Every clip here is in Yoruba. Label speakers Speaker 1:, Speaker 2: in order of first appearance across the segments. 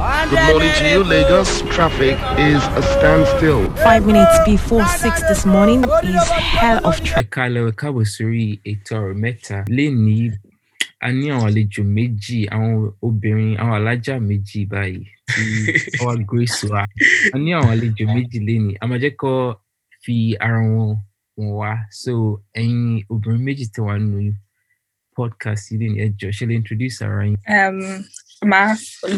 Speaker 1: Good morning to you, Lagos. Traffic is a standstill.
Speaker 2: five minutes before six this morning is hell of
Speaker 3: ẹ kálẹ̀ ẹ káàbọ̀ sórí ètò ọ̀rọ̀ mẹ́ta lénìí a ní àwọn àlejò méjì àwọn obìnrin àwọn alájà méjì báyìí tí àwa grace wa a ní àwọn àlejò méjì lénìí a máa jẹ́ kó fi ara wọn wọn wá so ẹ̀yin obìnrin méjì tẹ̀ wá nínú podcast yìí lénìí ẹ jọ ṣe lè introduce ara yín.
Speaker 4: um máa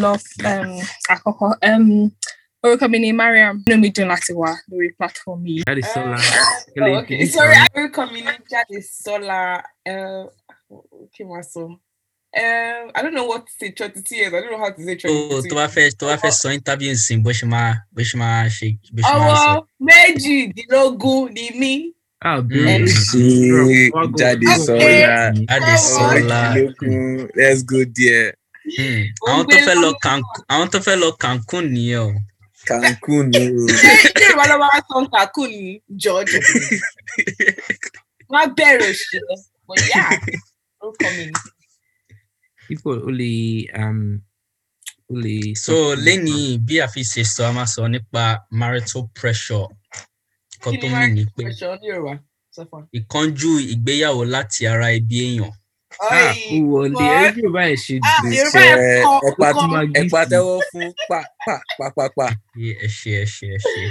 Speaker 4: lọ um àkọ́kọ́ um orúkọ mi ni mariam inú mi dùn láti wà lórí platform yìí.
Speaker 3: jáde sọ́la ṣe lè
Speaker 5: Oh, okay.
Speaker 3: introduce
Speaker 5: Sorry, I
Speaker 3: ara yín.
Speaker 5: will come in Jade Sola. Uh, okay, my son. Um, I don't know what to say, 32 years. I don't know how to say
Speaker 6: tó
Speaker 5: 32
Speaker 6: tó bá fẹ́ tó bá fẹ́ sọ interview nsìn bó ṣe máa bó ṣe máa ṣe bó ṣe máa sọ.
Speaker 5: Ọwọ́ méjìdínlógún ni mí.
Speaker 3: Ah,
Speaker 6: Mm.
Speaker 3: bẹ́ẹ̀
Speaker 7: Ṣé jáde sọ́la
Speaker 6: Jáde sọ́la.
Speaker 7: méjìlélógún let's go there
Speaker 6: Mm. Àwọn tó fẹ́ lọ Cancun àwọn tó fẹ́ lọ Cancun nìyẹn o.
Speaker 7: Cancun ni o.
Speaker 5: Ṣé ṣé ìwà lọ́wọ́ á san kàkú ni George? Wọ́n á bẹ̀rẹ̀ òṣìṣẹ́. But yeah, orúkọ mi ni.
Speaker 3: Ipò o lè um, o lè
Speaker 6: So lẹ́nìí bí àfi ṣe sọ a máa sọ nípa marital pressure kan
Speaker 5: Kí
Speaker 6: tó
Speaker 5: ni
Speaker 6: mì ní
Speaker 5: Mariam
Speaker 6: pé
Speaker 5: Pressure ní Yorùbá? Sọ fún wa.
Speaker 6: ìkánjú ìgbéyàwó láti ara ẹbí èèyàn.
Speaker 3: Ah, ó
Speaker 5: Ọ̀yì,
Speaker 3: wọlé
Speaker 5: wọ́n-
Speaker 3: ẹgbẹ́ ò báyìí ṣe
Speaker 5: Ah,
Speaker 3: dùn.
Speaker 5: Yorùbá
Speaker 7: Ṣé
Speaker 5: ẹ̀ kọ́
Speaker 7: ẹ pa-
Speaker 5: ọkọ̀.
Speaker 7: ẹ pàtẹ́wọ́ fún pa pa pa pa pa.
Speaker 6: Ṣé ẹ ṣe ẹ ṣe ẹ ṣe.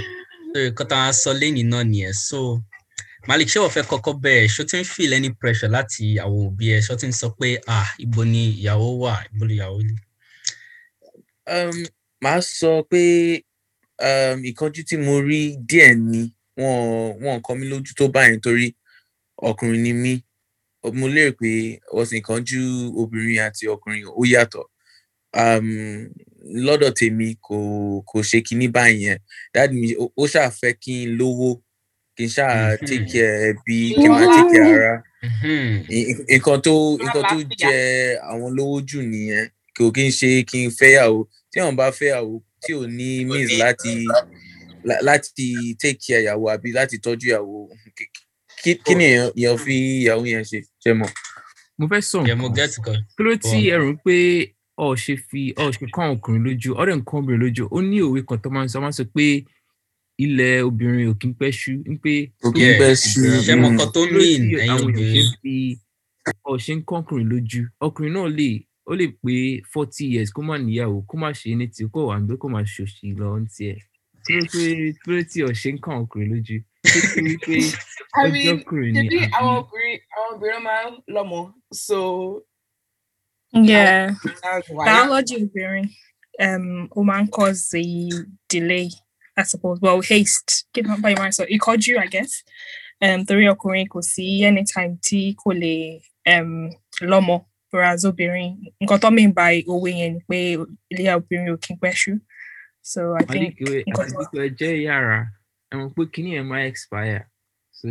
Speaker 6: So nǹkan tá a sọ lẹ́nìí náà nìyẹn. So Malik ṣé wọ́n fẹ́ kọ́kọ́ bẹ̀rẹ̀ ṣó ti ń feel any pressure láti àwọn òbí ẹ ṣó ti ń sọ pé ah ibo ni ìyàwó wà ibo ni ìyàwó ni.
Speaker 7: Um, Màá sọ pé um, ìkánjú tí mo rí díẹ̀ ni wọn wọn kọ mí lójú tó báyìí torí ọkùnrin ni mí. Mo lérò pé ọ̀sìn ìkánjú obìnrin àti ọkùnrin ó yàtọ̀. um, lọ́dọ̀ tèmi kò kò ṣe kinní báyìí yẹn dáàdi mi ó- ó ṣáà fẹ́ kí n lówó kí n ṣáà
Speaker 6: Mhm.
Speaker 7: take care ẹbí kí n máa take care ara
Speaker 6: Mhm.
Speaker 7: I- i- nǹkan tó nǹkan tó
Speaker 5: Àlàáfíà.
Speaker 7: jẹ àwọn lówó jù nìyẹn kò kí n ṣe kí n fẹ́yàwó tí wọn bá fẹ́yàwó tí ò ní means láti lá- láti take care ìyàwó àbí láti tọ́jú ìyàwó kí- kí kí ni èèyàn èèyàn fi ìyàwó yẹn ṣe ṣe mọ̀.
Speaker 3: Mo fẹ́ sọ
Speaker 6: Yeah, mo
Speaker 3: nǹkan.
Speaker 6: get Oh. kan.
Speaker 3: kí ló tí
Speaker 6: Bọ́ọ̀lù.
Speaker 3: ẹ rò pé ọ ò ṣe fi ọ ò ṣe kán ọkùnrin lójú ọdẹ nǹkan obìnrin lójú ó ní òwe kan tó máa ń sọ máa ń sọ pé ilẹ̀ obìnrin ò kí ń pẹ́ ṣú ń pé
Speaker 7: kò kí n
Speaker 6: Yeah,
Speaker 7: pẹ́ sí
Speaker 6: Ṣé mo nǹkan tó
Speaker 3: kí ló
Speaker 6: mean
Speaker 3: Hmm. tí
Speaker 6: ẹ̀yin
Speaker 3: àwọn èèyàn ṣe
Speaker 6: obìnrin?
Speaker 3: ń fi ọ ṣe ń kán ọkùnrin lójú ọkùnrin náà lè ó lè pé forty years kó má níyàwó kó má ṣe ní tí kó wà ń gbé kó má ṣòṣì lọ ń tiẹ̀ kí ló pé kí ló tí ọ ṣe ń kán ọkùnrin lójú ṣé kí ni pé
Speaker 5: I
Speaker 3: ó jẹ́
Speaker 5: mean,
Speaker 3: ọkùnrin ni
Speaker 5: ṣebí
Speaker 3: àbí
Speaker 5: àwọn obìnrin àwọn obìnrin máa ń lọ́mọ so
Speaker 4: yeah
Speaker 5: that's why.
Speaker 4: Um, biology obìnrin um, ó máa ń cause a delay i suppose well haste kí ni wọ́n báyìí máa ń sọ ìkọjú i guess um, torí ọkùnrin kò sí anytime tí kò lè um, lọ́mọ whereas obìnrin nǹkan tó mean by òwe yẹn ni pé ilé obìnrin ò kí ń pẹ́ ṣú so i think
Speaker 3: àdìgbò
Speaker 4: nǹkan tó
Speaker 3: àdìgbò ẹjẹ yàrá ẹ mọ pé kíní ẹ máa expire so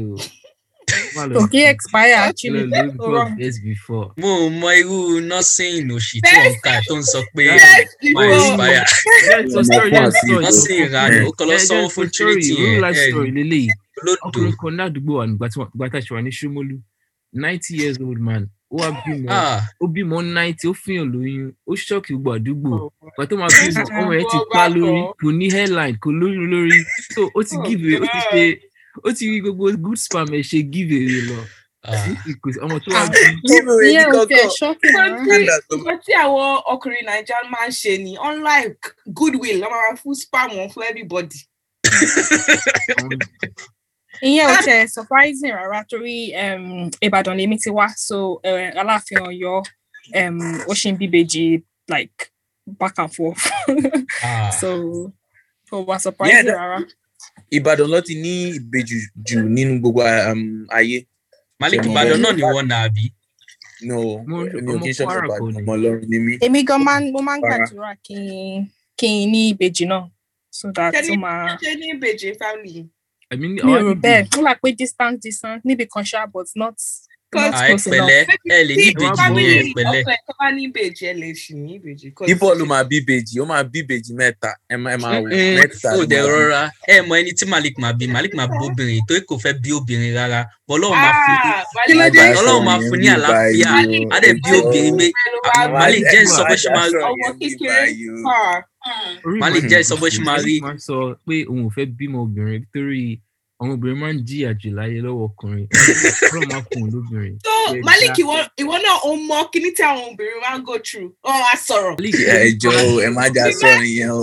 Speaker 3: wà lọ
Speaker 4: kò kí expire
Speaker 3: lọ
Speaker 4: actually
Speaker 3: ló
Speaker 4: ó
Speaker 3: gbọ
Speaker 4: wrong
Speaker 3: days before.
Speaker 6: Mo ò mọ irú nursing òṣì tí wọ́n kà tó ń sọ pé
Speaker 5: Yes,
Speaker 6: my
Speaker 5: before.
Speaker 3: Oh,
Speaker 6: expire.
Speaker 3: bẹ́ẹ̀ sọ story yẹn sọ yìí
Speaker 6: Nursing ìranù ó kọ́ lọ
Speaker 3: ẹ jẹ́
Speaker 6: sanwó
Speaker 3: sọ
Speaker 6: fún
Speaker 3: story
Speaker 6: trinity
Speaker 3: real
Speaker 6: yẹn
Speaker 3: life
Speaker 6: ẹ̀
Speaker 3: story lélẹ́yìí
Speaker 6: lódò.
Speaker 3: ọkùnrin kan ní àdúgbò wa nígbà tí wọ́n- ìgbà tá a ṣe wà ní ṣómólú ninety years old man ó wá bímọ
Speaker 6: Ah
Speaker 3: ó bímọ ninety ó fihàn lóyún ó ṣọ́ọ̀kì gbogbo àdúgbò
Speaker 4: Oh.
Speaker 3: ìgbà tó máa bímọ
Speaker 4: Ah,
Speaker 3: ọmọ yẹn ti
Speaker 5: gbogbo
Speaker 3: pa
Speaker 5: akọ.
Speaker 3: lórí kò ní hairline kò lórí lórí so ó ti
Speaker 5: Oh,
Speaker 3: give away ó ti
Speaker 5: God.
Speaker 3: ṣe ó ti rí gbogbo good sperm ẹ ṣe give away lọ
Speaker 6: ah.
Speaker 3: Nísìnyí kò sí- ọmọ tó wá
Speaker 4: ah,
Speaker 3: bí
Speaker 7: Give away
Speaker 4: ìyẹn
Speaker 7: ní
Speaker 4: ò tiẹ̀
Speaker 7: kọ́kọ́.
Speaker 4: shocking rárá.
Speaker 5: Nǹkan tí-
Speaker 7: Standard ló
Speaker 5: nǹkan tí àwọn ọkùnrin Naija máa ń ṣe ni unlike goodwill wọ́n máa fún spam wọn fún everybody.
Speaker 3: àwọn
Speaker 4: ìyẹn ò tẹ surprising rárá torí um, ìbàdàn lèmi ti wá so eh, aláàfin ọyọ um, ó ṣì ń bíbejì like back and forth
Speaker 6: ah.
Speaker 4: so kò wá surprising
Speaker 7: that-
Speaker 4: rárá.
Speaker 7: ìbàdàn ló ti ní ìbejì jù nínú gbogbo um, ayé
Speaker 6: Malik
Speaker 7: Ṣé mo
Speaker 6: Ìbàdàn
Speaker 7: bẹ̀rẹ̀?
Speaker 6: náà ni wọ́n nà àbí.
Speaker 7: no
Speaker 3: Mo ń ṣe-
Speaker 7: mi ò
Speaker 3: ọmọ
Speaker 7: kí n ṣọmọ
Speaker 3: Kwara kọ́
Speaker 7: ìbàdàn
Speaker 3: ni.
Speaker 7: ọmọ ọlọrun ni mí
Speaker 4: èmi gan máa ń- mo máa ń
Speaker 7: Rárá.
Speaker 4: gbàdúrà kí n kí n ní ìbejì náà so that
Speaker 5: Ṣé
Speaker 4: ó
Speaker 5: ní-
Speaker 4: máa
Speaker 5: ṣé ní ìbejì family yìí?
Speaker 3: ẹ̀mí ní
Speaker 4: mi ò
Speaker 3: àwọn
Speaker 4: rò
Speaker 3: níbi
Speaker 4: bẹ́ẹ̀ ó là pé distance distance níbi kan ṣá but not not
Speaker 6: Ah ẹ
Speaker 4: close enough.
Speaker 6: pẹ̀lẹ́ ẹ lè ní
Speaker 5: Tí
Speaker 6: ìbejì ní
Speaker 5: family
Speaker 6: ẹ pẹ̀lẹ́.
Speaker 5: ọkọ ẹ̀kọ́ bá ní ìbejì ẹ lè ṣì ní ìbejì. 'cause-
Speaker 7: bíbọ ló máa bí ìbejì ó máa bí ìbejì mẹta ẹ máa ẹ máa wò mẹta
Speaker 6: Ó
Speaker 7: ló
Speaker 6: dẹ̀
Speaker 7: máa bí.
Speaker 6: rọra ẹ mọ ẹni tí Malik máa bí Malik máa bí obìnrin torí kò fẹ́ bí obìnrin rárá. Bọ́lọ́run máa fún
Speaker 5: Ah,
Speaker 4: Kí ló dé?
Speaker 7: Àgbà sọ
Speaker 6: Ọlọ́run máa
Speaker 7: yẹn
Speaker 6: fún ní
Speaker 7: bí báyìí
Speaker 6: àlàáfíà.
Speaker 7: o,
Speaker 6: Á dẹ̀ bí
Speaker 7: ẹjọ́.
Speaker 6: obìnrin mé
Speaker 5: Pẹ̀lú wa
Speaker 7: Àwọn
Speaker 6: Malik
Speaker 7: àgbà
Speaker 6: jẹ́ sọ
Speaker 7: sọ
Speaker 6: bó ṣe máa
Speaker 7: yẹn
Speaker 5: ọmọ
Speaker 7: bí
Speaker 5: kékeré
Speaker 7: báyìí o.
Speaker 5: kan.
Speaker 3: Orí
Speaker 6: Malik
Speaker 3: ìmọ̀
Speaker 6: jẹ́
Speaker 3: ni
Speaker 6: sọ
Speaker 3: kò
Speaker 6: bó
Speaker 3: sí.
Speaker 6: ṣe máa
Speaker 3: Ó
Speaker 6: rí.
Speaker 3: máa sọ pé òun ò fẹ́ bímọ obìnrin torí àwọn obìnrin máa ń jìyà jù láyé lọ́wọ́ ọkùnrin. Ọlọ́run máa fún un lóbìnrin.
Speaker 5: so
Speaker 3: Bẹ́ẹ̀
Speaker 5: malik
Speaker 3: dá.
Speaker 5: ìwọ ìwọ náà ó mọ kíní tí àwọn obìnrin máa ń go through ọ á sọ̀rọ̀
Speaker 3: Malik
Speaker 7: ẹjọ ẹ má já sọ ìyẹn o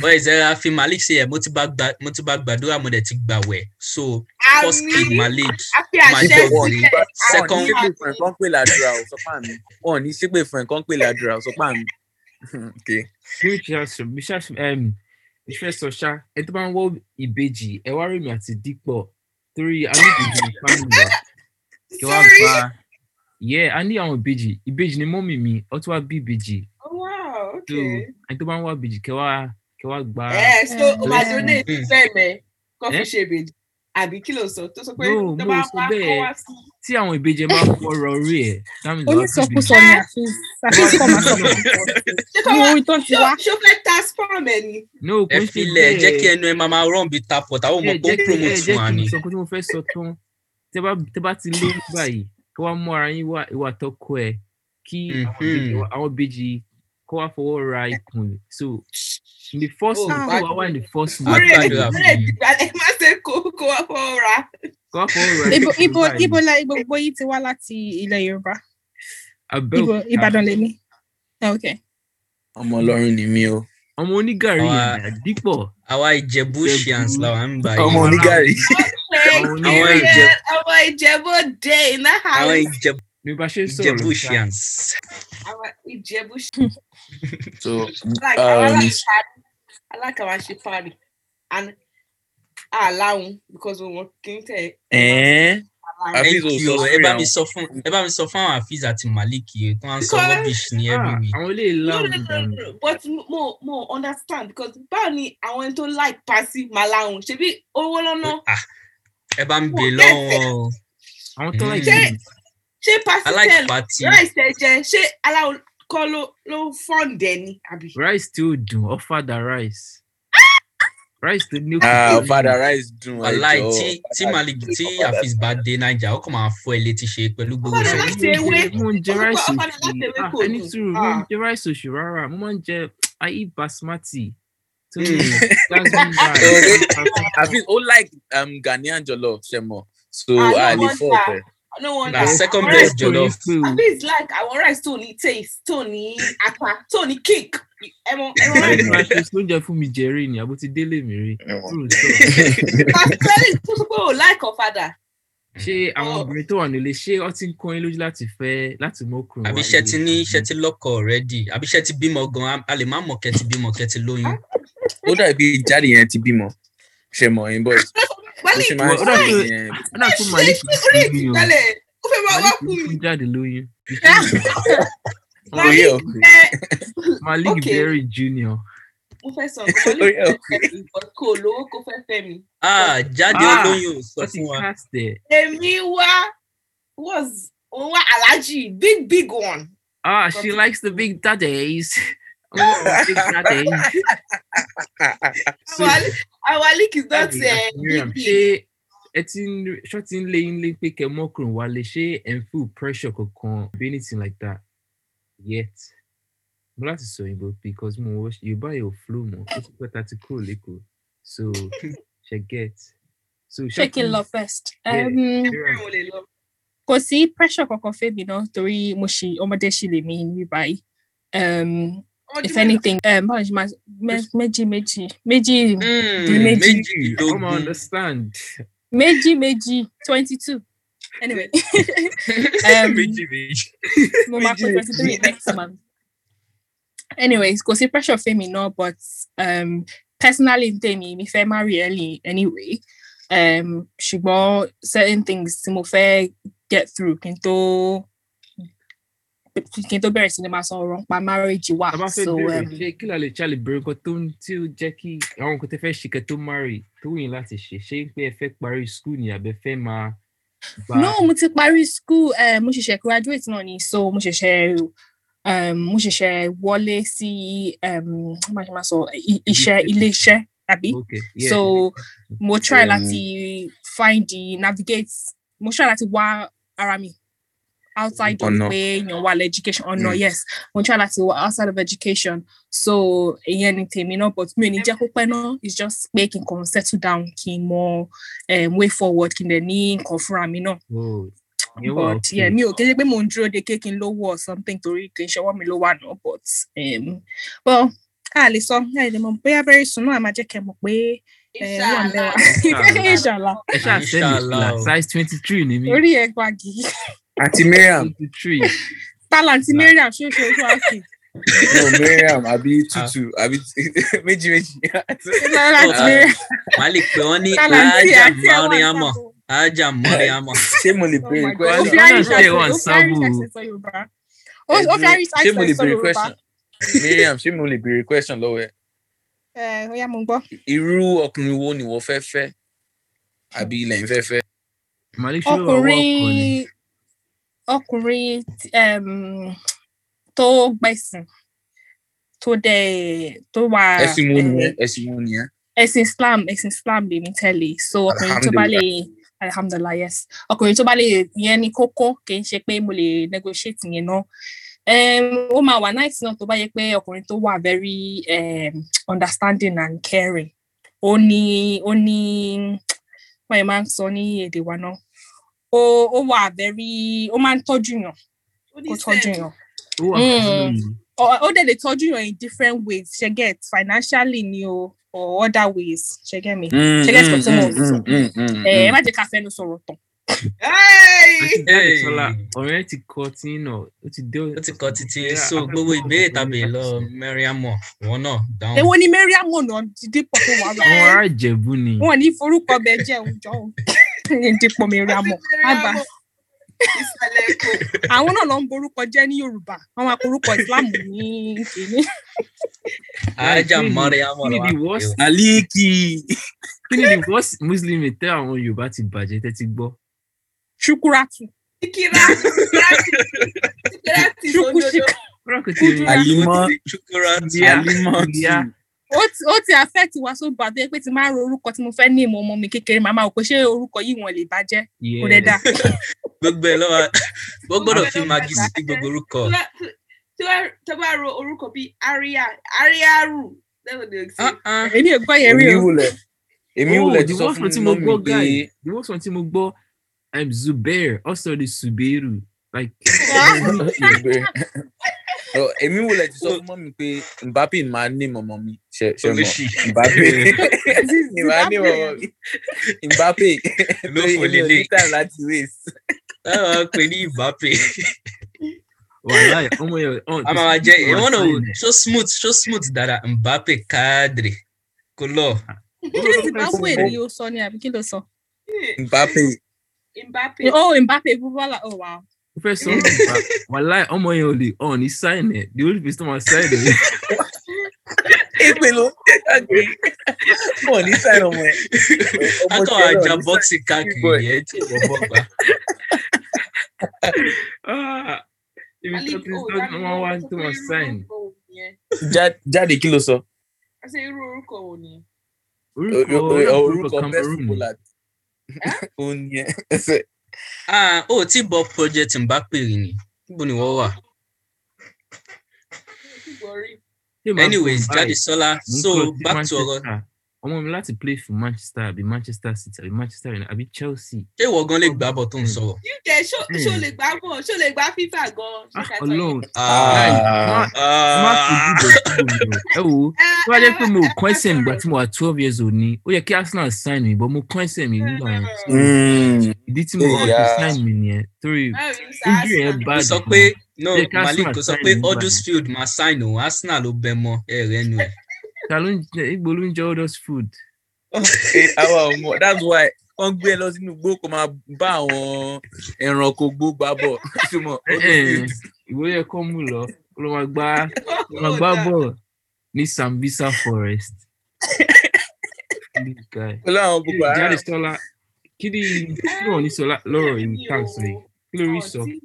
Speaker 6: Wọ́n ìṣẹ́ra fi Malik ṣe ẹ̀ mo ti bá gba- mo ti bá gbàdúrà mo dẹ̀ ti gbàwẹ̀. So first
Speaker 5: àmì
Speaker 6: kid Malik.
Speaker 5: a fi
Speaker 6: Máa
Speaker 5: àṣẹ
Speaker 6: jẹ́
Speaker 7: wọn ní
Speaker 5: sílẹ̀
Speaker 6: Second
Speaker 7: ṣépè fún ẹ kán pè ládùúrà ò sọ pá mi wọn ní ṣépè fún ẹ kán pè ládùúrà ò sọ pá mi. Okay.
Speaker 3: ìfẹ́ sọ ṣá ẹ tó bá ń wọ́ ìbejì ẹ wá rèmi àti dípọ̀ torí a ní ìbejì ní fámìlì wa kí wàá
Speaker 5: Sorry.
Speaker 3: gba yẹ a ní àwọn ìbejì ìbejì ni mọ́mì mi ọ tún wá bí ìbejì
Speaker 5: Oh, wow,
Speaker 3: tó
Speaker 5: okay.
Speaker 3: ẹ tó bá ń wá ìbejì kẹ wá kẹ wá gba
Speaker 5: Eh, so o máa donate
Speaker 6: Mm.
Speaker 5: fẹ́ẹ̀mẹ kó fi
Speaker 3: Eh?
Speaker 5: ṣe ìbejì àbí kí ló sọ tó sọ pé
Speaker 3: No,
Speaker 5: tó
Speaker 3: mo
Speaker 5: bá
Speaker 3: sọ
Speaker 5: wá kó
Speaker 3: bẹ́ẹ̀.
Speaker 5: wá sí
Speaker 3: tí àwọn ìbejì ẹ bá fọ̀rọ̀ orí ẹ̀ dáhùn ìlú
Speaker 4: onísọkúsọ ni àfíìs àfíìs kọ́ máa sọ̀rọ̀
Speaker 5: ṣé kó
Speaker 4: ní
Speaker 5: wá
Speaker 4: orí tó ti
Speaker 5: ṣó
Speaker 4: wá
Speaker 5: ṣó fẹ́ ta spam ẹ̀ ni
Speaker 3: no
Speaker 6: Ẹ
Speaker 3: kò ń ṣe
Speaker 6: filẹ̀ jẹ́ kí
Speaker 3: bẹ́ẹ̀.
Speaker 6: ẹnu ẹ máa máa rán bí tapọ̀ táwọn
Speaker 3: ẹ
Speaker 6: ọmọ kó
Speaker 3: jẹ́ kí ẹ
Speaker 6: promote
Speaker 3: jẹ́
Speaker 6: fún wa
Speaker 3: kí n
Speaker 6: ni.
Speaker 3: sọ pé tí mo fẹ́ sọ tán tẹ́ bá tẹ́ bá ti lóyún báyìí kó wá mú ara yín wá ìwà tọkọ ẹ kí àwọn
Speaker 6: Mhm.
Speaker 3: ìbejì wa- àwọn ìbejì kó wá fọwọ́ ra ikùn so in the first
Speaker 5: Oh,
Speaker 3: month kó wá wà in the first month
Speaker 5: orí ẹ̀
Speaker 6: gbàdúrà
Speaker 5: orí
Speaker 6: fún
Speaker 5: ẹ̀
Speaker 6: yín.
Speaker 5: ti gbalẹ̀ má ṣe kó kó wá fọwọ́ ra
Speaker 3: kó wá fọwọ́ ra
Speaker 4: ibo
Speaker 3: ikùn
Speaker 4: ibo
Speaker 3: báyìí.
Speaker 4: ibo la gbogbo yìí ti wá láti ilẹ̀ yorùbá ibo
Speaker 3: Abẹ́òkúta.
Speaker 4: ìbàdàn Ah, lè ní. ok
Speaker 7: ọmọ Ọlọ́run ni mí o
Speaker 3: ọmọ onígàrí
Speaker 6: Àwa-
Speaker 3: yàrá dípọ̀
Speaker 6: Àwa Ìjẹ̀bú
Speaker 3: Ìjẹ̀bú.
Speaker 6: Shians làwa ń gbà
Speaker 7: ọmọ
Speaker 6: yìí.
Speaker 7: onígàrí
Speaker 3: Àwọn
Speaker 5: Ṣé
Speaker 6: Ìjẹ̀bú-
Speaker 5: ọmọ ìjẹ̀bú dé iná
Speaker 6: Àwọn
Speaker 5: house
Speaker 6: Ìjẹ̀bú-
Speaker 3: ní bá ṣe ń
Speaker 6: Ìjẹ̀bú
Speaker 3: sọ̀rọ̀ ṣá,
Speaker 6: Shians.
Speaker 5: àwọn ìjẹ̀bú ṣe
Speaker 7: so
Speaker 5: like àwọn
Speaker 7: um,
Speaker 5: alákàwá- alákàwá ṣe party and àláhùn because wọn kì í tẹ̀
Speaker 7: ẹ̀ẹ́n
Speaker 5: àláhùn.
Speaker 7: Hafiz
Speaker 6: Thank
Speaker 7: ò
Speaker 6: you.
Speaker 7: sọ
Speaker 6: Ẹ
Speaker 7: sórí
Speaker 6: bá mi
Speaker 7: àwọn
Speaker 6: sọ fún ẹ bá mi sọ fún àwọn Hafiz àti Malik yìí tó ń sọ
Speaker 5: Because-
Speaker 6: rubbish ní every
Speaker 3: Ah,
Speaker 6: week.
Speaker 3: àwọn eléyìí
Speaker 5: No, no,
Speaker 3: láwọn
Speaker 5: no,
Speaker 3: dànù.
Speaker 5: no, but mo mo understand because báwo ni àwọn ẹni tó like pàṣẹ màláhùn ṣebí owó lọ́nà
Speaker 6: Ah, Ẹ bá ń bè
Speaker 5: Wọ́n
Speaker 6: lọ́wọ́.
Speaker 3: àwọn tó láì
Speaker 6: Ṣé-
Speaker 3: jẹun.
Speaker 5: ṣé pàṣẹ
Speaker 6: Aláìsí
Speaker 5: tẹ̀
Speaker 6: pati.
Speaker 5: láìsẹ̀ jẹ ṣé aláwọ̀ kọ́ ló ló fọ́ǹdẹ̀ ni àbí.
Speaker 7: Mm.
Speaker 3: rice tí ó dùn offer the rice rice tó ní
Speaker 7: ah
Speaker 3: òkú
Speaker 7: father rice dùn
Speaker 6: Aláì
Speaker 7: ẹjọ
Speaker 6: tí tí Malik tí Hafiz bá dé Naija ó kàn máa fọ́ ẹ létí ṣe pẹ̀lú gbogbo
Speaker 5: Ọ̀padà
Speaker 6: sọ.
Speaker 5: láti ewé.
Speaker 3: mo ń jẹ
Speaker 5: Ó
Speaker 3: rice
Speaker 5: sọ pé ọ̀padà láti ewé kò
Speaker 3: òṣì ẹni
Speaker 5: dùn.
Speaker 3: sùúrù mo ń
Speaker 5: Ah.
Speaker 3: jẹ rice òṣì rárá mo máa ń jẹ i eat basmati tó ní
Speaker 6: Mm.
Speaker 3: jasmine
Speaker 7: Ọ̀rẹ́.
Speaker 3: rice
Speaker 7: Hafiz ó like um, Ghanaian jollof ṣẹmọ so
Speaker 5: Ah, no
Speaker 7: a lè fọ
Speaker 5: wonder.
Speaker 7: ọpẹ.
Speaker 5: no wonder
Speaker 6: Na second
Speaker 5: Àwọn
Speaker 6: best
Speaker 5: rice-
Speaker 6: jollof.
Speaker 5: àbí it's like àwọn rice tó ní taste tó ní ata tó ní kick ẹmọ ẹmọ rice
Speaker 3: rice rice tó ń jẹ fún mi jẹrí ni àbó ti délé mi rí True story.
Speaker 5: pàṣẹ tó sọ pé ò like ọ̀fadà.
Speaker 3: ṣé àwọn obìnrin tó wà nílé ṣé ọ ti ń kọ́ yín lójú láti fẹ́ láti mú okùn
Speaker 6: Àbí ṣe ti ní ṣe ti lọ́kọ̀ already. Àbí ṣe ti bímọ gan. A lè má mọ̀ kẹ́ ti bímọ kẹ́ ti lóyún.
Speaker 7: ó dàbí jáde yẹn ti bímọ ṣẹmọ yín bọ bó
Speaker 5: Malik
Speaker 7: ṣe máa ń
Speaker 3: Ó
Speaker 7: ṣe
Speaker 3: dàbí-
Speaker 7: yẹn
Speaker 3: ó dà fún malik
Speaker 5: orí
Speaker 3: fún mi o
Speaker 5: ìtìtẹ́lẹ̀ ó fẹ́ máa wá
Speaker 3: malik
Speaker 5: kú mi.
Speaker 3: fún jáde lóyún
Speaker 7: orí
Speaker 5: Malik
Speaker 7: ọkùnrin.
Speaker 5: ẹ
Speaker 3: malik
Speaker 5: Okay.
Speaker 3: berry junior.
Speaker 5: mo fẹ́ sọ nǹkan
Speaker 7: Orí
Speaker 5: Malik
Speaker 7: ọkùnrin.
Speaker 5: fẹ́ mi, but kò lówó kó fẹ́ fẹ́ mi.
Speaker 6: Ah jáde
Speaker 3: Ah,
Speaker 6: olóyún ò sọ
Speaker 3: wọ́n ti
Speaker 6: fún wa.
Speaker 3: cast ẹ̀.
Speaker 5: Èmi wá was òun wá aláàjì big big one.
Speaker 3: Ah, she
Speaker 5: Copy.
Speaker 3: likes the big daddies. Oh, big daddies. So,
Speaker 5: Our- Our leak is not
Speaker 3: daddy,
Speaker 5: eh,
Speaker 3: Aunt Miriam,
Speaker 5: big big.
Speaker 3: ṣé ẹ ti ń ṣé ó ti ń lé yín lé pé kẹ mọ́kùnrin wá lè ṣe ẹ̀ ń feel pressure kankan be anything like that yet. Mo láti sọ òyìnbó because mo wọ Yorùbá yóò flow mọ́, ó ti pẹ́ ta ti kúrò lẹ́kọ̀ọ́. So, ṣe get. So, ṣé
Speaker 4: check
Speaker 3: kí
Speaker 4: it
Speaker 3: n-
Speaker 4: love first.
Speaker 3: Yeah.
Speaker 4: Um,
Speaker 3: Miriam,
Speaker 5: Mo lè lọ.
Speaker 4: kò sí pressure kankan fẹ́mi náà torí mo ṣì ọmọdé ṣì lè mí ní báyìí um,
Speaker 5: Ọmọdé
Speaker 4: if
Speaker 5: mélòó?
Speaker 4: anything um, báwo ni ṣe máa mẹ- méjì méjì méjì
Speaker 6: Mm,
Speaker 4: Méjì.
Speaker 3: ọmọ
Speaker 6: méjìdínlógún.
Speaker 3: understand.
Speaker 4: méjì méjì twenty two anyway um,
Speaker 6: Méjì méjì.
Speaker 4: mo máa pé
Speaker 7: méjì.
Speaker 4: twenty three next month anyways kò sí pressure fẹ́mi náà but um, personally tèmi mi fẹ́ marry early anyway um, ṣùgbọ́n certain things tí mo fẹ́ get through kí n tó kí n tó bẹ̀rẹ̀ sí ni máa sọ ọ̀rọ̀ nípa marriage wa
Speaker 3: tá bá fẹ́
Speaker 4: so
Speaker 3: bẹ̀rẹ̀
Speaker 4: um,
Speaker 3: ṣe kí la lè ṣàlè bẹ̀rẹ̀ nǹkan tó ń tí ó jẹ́ kí àwọn nǹkan tẹ́ fẹ́ ṣe kẹ́ tó marry tó wù yín láti ṣe ṣé pé ẹ fẹ́ parí school ni àbẹ fẹ́ máa gba
Speaker 4: no mo ti parí school eh, mo ṣẹ̀ṣẹ̀ graduate náà ni so mo ṣẹ̀ṣẹ̀ um, mo ṣẹ̀ṣẹ̀ wọlé sí um, how much am I sọ I- iṣẹ́
Speaker 3: Ibi-
Speaker 4: ilé iṣẹ́ àbí
Speaker 3: okay yeah
Speaker 4: so mo try
Speaker 7: Um,
Speaker 4: láti find the navigate mo try láti wá ara mi outside
Speaker 7: Ọ̀nà.
Speaker 4: of pé èèyàn wà lẹ́dúkéṣọ̀n ọ̀nà
Speaker 7: Mm.
Speaker 4: yes mo ń try láti wà outside of education so ìyẹn ni tèmi náà but mi ò ní jẹ́ kó pẹ́ náà it's just pé kí n kàn settle down kí n mọ um, way forward kí n dẹ̀ ní nǹkan fúnra mi náà
Speaker 3: Oh, ìyẹn wà
Speaker 4: but
Speaker 3: okay.
Speaker 4: yeah mi ò kéde pé mo ń dúró de kékin lówó or something torí kì í ṣọwọ́ mi ló wà náà but um, well a lè sọ a lè mọ bóyá very soon náà a máa jẹ́ kẹ́ mọ̀ pé eh, ó wà
Speaker 5: Inshallah.
Speaker 4: mẹ́wàá inshallah
Speaker 3: ẹ ṣáà send it
Speaker 6: Inshallah
Speaker 3: la
Speaker 6: o.
Speaker 3: size twenty three ni mi
Speaker 4: orí ẹ̀ gbàgì
Speaker 7: àti mariam
Speaker 3: twenty three
Speaker 4: talent mariam ṣe é ṣe ojú àkè
Speaker 7: no mariam àbí tutu àbí méjì méjì
Speaker 4: talent
Speaker 6: Ah,
Speaker 4: mariam
Speaker 6: Malik pé wọ́n ní
Speaker 4: talent
Speaker 6: ájà
Speaker 4: àti àwọn
Speaker 6: mọ́ríámọ̀ ájà mọ́ríámọ̀.
Speaker 7: ṣé mo lè
Speaker 4: Oh
Speaker 7: pè é
Speaker 4: my God.
Speaker 3: Well,
Speaker 4: Ó
Speaker 7: question
Speaker 4: fi Irish
Speaker 3: Ghana ṣe wà
Speaker 4: accent- ó fi Irish
Speaker 3: sábò.
Speaker 4: accent sọ Yorùbá. Ó- ó fi
Speaker 7: Ẹ̀dùn,
Speaker 4: Irish
Speaker 7: ṣé mo lè
Speaker 4: accent sọ
Speaker 7: béèrè
Speaker 4: Yorùbá.
Speaker 7: question mariam ṣé mo lè béèrè question lọ́wọ́ ẹ
Speaker 4: Ẹ, ó yá, mo ń gbọ́.
Speaker 7: irú ọkùnrin wo ni wọ́n fẹ́ fẹ́ àbí ilẹ̀ ń fẹ́ fẹ́
Speaker 3: malik ṣe wà wà ọkọ ni
Speaker 4: Ọkùnrin ọkùnrin um, tó gbẹ̀sìn tó dẹ̀ tó wà
Speaker 7: ẹ̀sìn wo nìyẹn
Speaker 4: eh,
Speaker 7: ẹ̀sìn wo nìyẹn
Speaker 4: ẹ̀sìn Islam ẹ̀sìn Islam lèmi tẹ̀lé so ọkùnrin tó bá lè alhamdulillah yes ọkùnrin tó bá lè yẹn ní kókó kì í ṣe pé mo lè negotiate yẹn náà um, ó máa wà nice náà tó bá yẹ pé ọkùnrin tó wà very um, understanding and caring ó ní ó ní wọn yẹn máa ń sọ ní èdè wa náà ó ó wà very ó máa ń tọ́jú yàn kó tọ́jú yàn
Speaker 3: ó wà fún
Speaker 4: Mm.
Speaker 3: mi
Speaker 4: Ó- ó dẹ̀ lè tọ́jú yàn in different ways ṣe get financially ni o or other ways ṣe get me Ṣé guess what tí
Speaker 7: Mm,
Speaker 4: mo sọ? ẹ
Speaker 8: Mm.
Speaker 4: ẹ Eh, má jẹ́ ká fẹ́nu sọ̀rọ̀ tán
Speaker 5: Hey!
Speaker 3: Àti Dáre
Speaker 6: Hey.
Speaker 3: Sọlá, ọ̀rẹ́ ti kọ tí nà ó ti dé
Speaker 6: ó ti kọ títí
Speaker 3: Yeah,
Speaker 6: so
Speaker 3: a fẹ́
Speaker 6: gbogbo
Speaker 3: kọ́
Speaker 6: ìbéèrè
Speaker 3: ọ̀rọ̀
Speaker 6: tàbí
Speaker 3: nípa
Speaker 6: lọ
Speaker 3: ìṣẹ́.
Speaker 6: mẹ́ríámọ̀ wọn náà dáhùn.
Speaker 4: èwo ni Mariam ọ̀nà dídípọ̀ tó wà lọ
Speaker 3: àwọn ará ìjẹ̀bú ni
Speaker 4: wọn ní forúkọ bẹ jẹ́ òjọ́ o ní dípọ̀ Mariam àgbà
Speaker 5: Ìsàlẹ̀ Èkó.
Speaker 4: àwọn náà ló ń borúkọ jẹ ní yorùbá wọn máa korúkọ islam ní kìíní
Speaker 6: ájà
Speaker 3: Kí ni-
Speaker 6: mọ́ríámọ̀
Speaker 3: kí ni
Speaker 6: lọ́wọ́
Speaker 3: the
Speaker 6: àpèjọ.
Speaker 3: worst
Speaker 7: aliki
Speaker 3: kí ni the worst muslim tẹ àwọn yorùbá ti bàjẹ́ tẹ́tí gbọ́
Speaker 4: ṣukuratu
Speaker 5: Kíkírá, kíkírá, kíkírá ti sódodo.
Speaker 4: ṣukuṣika
Speaker 3: kúrọ̀kì tí mi
Speaker 7: alimọ
Speaker 6: ṣùkúrà tí
Speaker 3: Yeah.
Speaker 7: alimọ
Speaker 3: Yeah.
Speaker 4: ó ti- ó ti affect wa so bad pé tí máa ń ro orúkọ tí mo fẹ́ ní ìmọ̀ ọmọ mi kékeré màmá ò pé ṣé orúkọ yìí wọn lè bàjẹ́ kò dẹ̀
Speaker 3: Oh,
Speaker 4: dà
Speaker 6: gbogbo ẹ̀ lọ́wọ́ ó gbọ́dọ̀ fi magi sí
Speaker 5: Bàjẹ́.
Speaker 6: gbogbo orúkọ.
Speaker 5: Tí wá- tí- tí wá- Tó bá ro orúkọ bíi Aria, Ariaru, lẹ́wọ̀n ni o ti.
Speaker 6: Ah, ah.
Speaker 4: Uh-uh. èmi ò gbọ́ yẹn rí
Speaker 7: èmi
Speaker 4: o
Speaker 7: wulẹ èmi
Speaker 3: Oh,
Speaker 7: wulẹ
Speaker 3: the
Speaker 7: ti sọ
Speaker 3: worst
Speaker 7: fún
Speaker 3: one tí mo
Speaker 7: mọmi
Speaker 3: gbọ́
Speaker 7: pé
Speaker 3: guy the worst one tí mo gbọ́ um, zubair also the suberu like
Speaker 7: No, Oh, èmi wulẹ ti sọ fún mọmi pé mbappe máa ní mọmọ mi ṣe ṣe mọ
Speaker 6: olóṣì
Speaker 7: mbappe máa ní mọmọ mi mbappe
Speaker 6: ló fò
Speaker 7: èmi ò ní
Speaker 6: lélẹ̀
Speaker 7: time láti waste
Speaker 6: táwọn á pè ní ìbápè
Speaker 3: wàhálà ọmọ yẹn oh, ọ̀n-
Speaker 6: a máa wá jẹ́
Speaker 3: wọ́n
Speaker 6: ìwọ́n náà wò,
Speaker 3: sign ẹ̀.
Speaker 6: ṣó smooth ṣó smooth dára mbappe káàdì kò lọ
Speaker 4: ṣé zimbabwe ni ó sọ ni àbí kí ló sọ
Speaker 7: mbappe
Speaker 5: Mbappe.
Speaker 4: ó mbappe Oh, búbọ́là ó wà ó
Speaker 3: ó fẹ́ sọ ọ́ nípa wàhálà ọmọ yẹn ò lè ọ̀n ní sign ẹ̀ the only person tó máa sign ẹ̀
Speaker 7: èpè ló ń tẹ káàkiri pọ ní sáyẹn ọmọ ẹ
Speaker 6: á
Speaker 7: ọmọ
Speaker 6: kàn wá
Speaker 7: tiẹ̀ náà
Speaker 6: ja
Speaker 7: ní
Speaker 6: bọ́ọ̀sì
Speaker 7: big
Speaker 6: káàkiri
Speaker 7: boy.
Speaker 6: yẹn tí ìwọ́n bọ̀ gbà.
Speaker 3: Ah, ibi tó
Speaker 5: Malik,
Speaker 3: ti
Speaker 5: oh,
Speaker 3: sọ
Speaker 5: dá
Speaker 3: ni
Speaker 5: mi
Speaker 3: wọ́n wá
Speaker 5: lóhùn,
Speaker 3: tó
Speaker 5: ó
Speaker 3: máa
Speaker 5: sọ pé irú orúkọ wo
Speaker 3: sign
Speaker 5: nìyẹn?
Speaker 7: sáyẹn. Já- jáde kí ló sọ
Speaker 5: Ó sọ irú orúkọ wo nìyẹn?
Speaker 3: orúkọ
Speaker 7: O- o- o- orúkọ
Speaker 3: orúkọ
Speaker 7: best
Speaker 3: cameroon ni.
Speaker 7: footballer ó ní ẹ
Speaker 6: Ah, ó tí bọ project mbappe rí ni níbo ni wọ́n wà.
Speaker 5: Kíkọ́ rí.
Speaker 3: Ṣé màá
Speaker 6: anyways
Speaker 3: fún
Speaker 6: jáde
Speaker 3: báyìí?
Speaker 6: sọlá
Speaker 3: Mo ń
Speaker 6: so
Speaker 3: kọ́ sí
Speaker 6: back to ọ̀rọ̀
Speaker 3: Manchester. ọmọ mi láti play for manchester àbí manchester city àbí manchester united àbí chelsea
Speaker 6: ṣé ìwọ gan lè gbà bọ tó ń
Speaker 3: Hmm.
Speaker 6: sọ̀rọ̀.
Speaker 5: You get ṣó
Speaker 3: Hmm.
Speaker 5: ṣó lè gbá bọ̀ ṣó lè gbá FIFA gan. Ṣé
Speaker 3: Ah,
Speaker 5: ká sọ yẹn?
Speaker 3: ọlọ́run
Speaker 6: Ah,
Speaker 3: má
Speaker 6: ah.
Speaker 3: má fojú bẹ̀ kúrò mi o ẹ wo
Speaker 5: Ẹ-
Speaker 3: tó bá jẹ́
Speaker 5: ẹ-
Speaker 3: pé mo
Speaker 5: ẹ
Speaker 3: kọ́
Speaker 5: má
Speaker 3: ẹsẹ̀ mi ìgbà
Speaker 5: sọ̀rọ̀.
Speaker 3: tí mo wà twelve years old ni ó yẹ kí arsenal sign mi but mo kọ́ ẹsẹ̀ mi nígbà yẹn so
Speaker 6: Mm.
Speaker 3: ìdí tí mo
Speaker 7: Hey,
Speaker 3: kọ́ fi
Speaker 7: yeah.
Speaker 3: sign mi nìyẹn torí
Speaker 5: Báwo ni sá
Speaker 3: injury yẹn
Speaker 5: Arsenal?
Speaker 3: bá
Speaker 6: kò
Speaker 3: a
Speaker 6: sọ
Speaker 3: dùn
Speaker 6: pé no
Speaker 3: Jẹ́ kí Arsenal
Speaker 6: malik kò sọ
Speaker 3: sign
Speaker 6: pé
Speaker 3: nígbà yẹn.
Speaker 6: huddersfield máa sign òun arsenal ló bẹ mọ ẹ rẹ nu ẹ.
Speaker 3: ta ló ń jẹ igbó ló ń jẹ odors food
Speaker 7: àwọn ọmọ that's why wọn gbé ẹ lọ sínú igbó kó máa bá àwọn ẹranko gbó gbá bọ súnmọ
Speaker 6: Eh,
Speaker 3: ìwé yẹ kọ́ mú lọ kó ló máa gbá ló máa gbá
Speaker 5: ah,
Speaker 3: bọ̀ ní sambisa forest. This guy.
Speaker 7: pẹlú àwọn boko
Speaker 3: jáde
Speaker 7: haram
Speaker 3: sọlá kí ni kí ló ní sọlá lọrọ yìí
Speaker 5: ah, Mi ò-
Speaker 3: thanks rẹ kí ló rí sọ
Speaker 5: ọ̀ǹtí-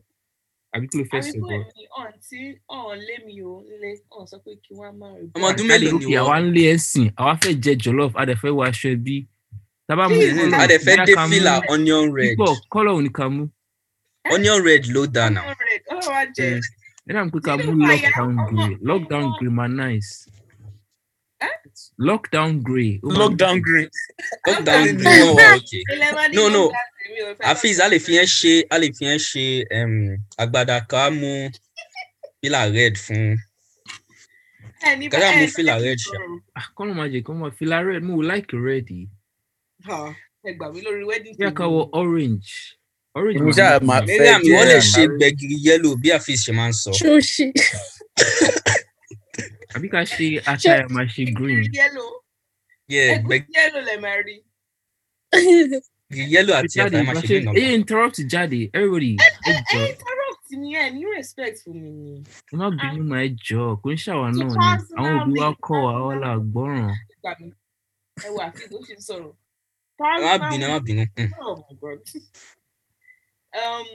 Speaker 3: àbí kí ló fẹ sọ
Speaker 5: àbíkú
Speaker 3: gan.
Speaker 5: ẹ̀mí ọ̀ǹtí ọ̀hún lé mi ò lé ọ̀hún sọ pé kí wọ́n má rí.
Speaker 6: Ọmọ ọdún
Speaker 3: jáde
Speaker 6: mélòó ni
Speaker 3: òkè
Speaker 6: wọ́n?
Speaker 3: àwa ń lé ẹsìn àwa fẹ jẹ jollof a dẹ fẹ wọ aṣọ ẹbí tábà mú
Speaker 6: a dẹ̀ fẹ́ dé fìlà onion red.
Speaker 3: púpọ kọlọ òní ká mú
Speaker 6: onion red ló dáa náà.
Speaker 5: Ọlọ́run á jẹ.
Speaker 3: Hmm. Then I'm quick. I
Speaker 5: Nínú
Speaker 3: mú
Speaker 5: àyà
Speaker 3: lockdown
Speaker 5: ọmọ
Speaker 3: grey.
Speaker 5: mi
Speaker 3: Lockdown
Speaker 5: náà.
Speaker 3: grey ma nice.
Speaker 5: Eh?
Speaker 3: Lockdown grey. ó ma
Speaker 7: Lockdown green.
Speaker 6: lockdown
Speaker 5: Lockdown
Speaker 6: green wọn wà òkè.
Speaker 5: Ilẹ̀ máa ní
Speaker 6: No, no.
Speaker 5: lockdown tèmi ò fẹ́
Speaker 6: afeez a lè fi yẹn ṣe a lè fi yẹn ṣe um, àgbàdà ká mú fìlà red fún
Speaker 5: Ẹ ní-
Speaker 6: Kájà
Speaker 5: ẹ
Speaker 6: mú
Speaker 5: ní
Speaker 6: fìlà
Speaker 5: kí n
Speaker 6: red ṣá.
Speaker 5: sọ̀rọ̀.
Speaker 3: Ah, kọ́nà máa jẹ́ kí wọ́n máa fila red. Mo like red yìí.
Speaker 5: Ah, Ẹ gbà mí lórí wedding.
Speaker 3: Bí a ká
Speaker 5: day.
Speaker 3: wọ orange. Orange
Speaker 7: Èmi
Speaker 3: ma
Speaker 7: ṣáà
Speaker 3: nice.
Speaker 7: máa fẹ́
Speaker 6: mẹ́rin àmì wọ́n lè
Speaker 7: jẹ́
Speaker 6: ṣe gbẹ̀gìrì yẹ́lò bí afeez ṣe máa ń sọ
Speaker 4: Ṣóṣì.
Speaker 3: Àbí ká ṣe attire máa ṣe green.
Speaker 5: Green yellow.
Speaker 6: Yeah,
Speaker 5: Ẹ green yellow lẹ máa rí.
Speaker 6: gbẹ̀gìrì yẹ́lò àti
Speaker 3: Jáde
Speaker 6: ẹ̀fà máa
Speaker 3: máa
Speaker 6: ṣe
Speaker 3: ṣe.
Speaker 6: gbẹ̀gìrì
Speaker 3: Ẹ interrupt jáde. Everybody ẹ jọ.
Speaker 5: Ẹyin corrupt ni ẹ ní respect fún mi ni.
Speaker 3: Ẹ má bínú máa ẹ jọ. Kò ń ṣàwa náà ni. Àwọn òbí wa kọ́ wa wọ́n là gbọ́ràn.
Speaker 5: Ẹ gbà mí. Ẹ wà kí ló ṣe ń sọ̀rọ̀.
Speaker 6: ẹ má bínú ẹ má bínú. Hmm.
Speaker 5: Oh my God. Um,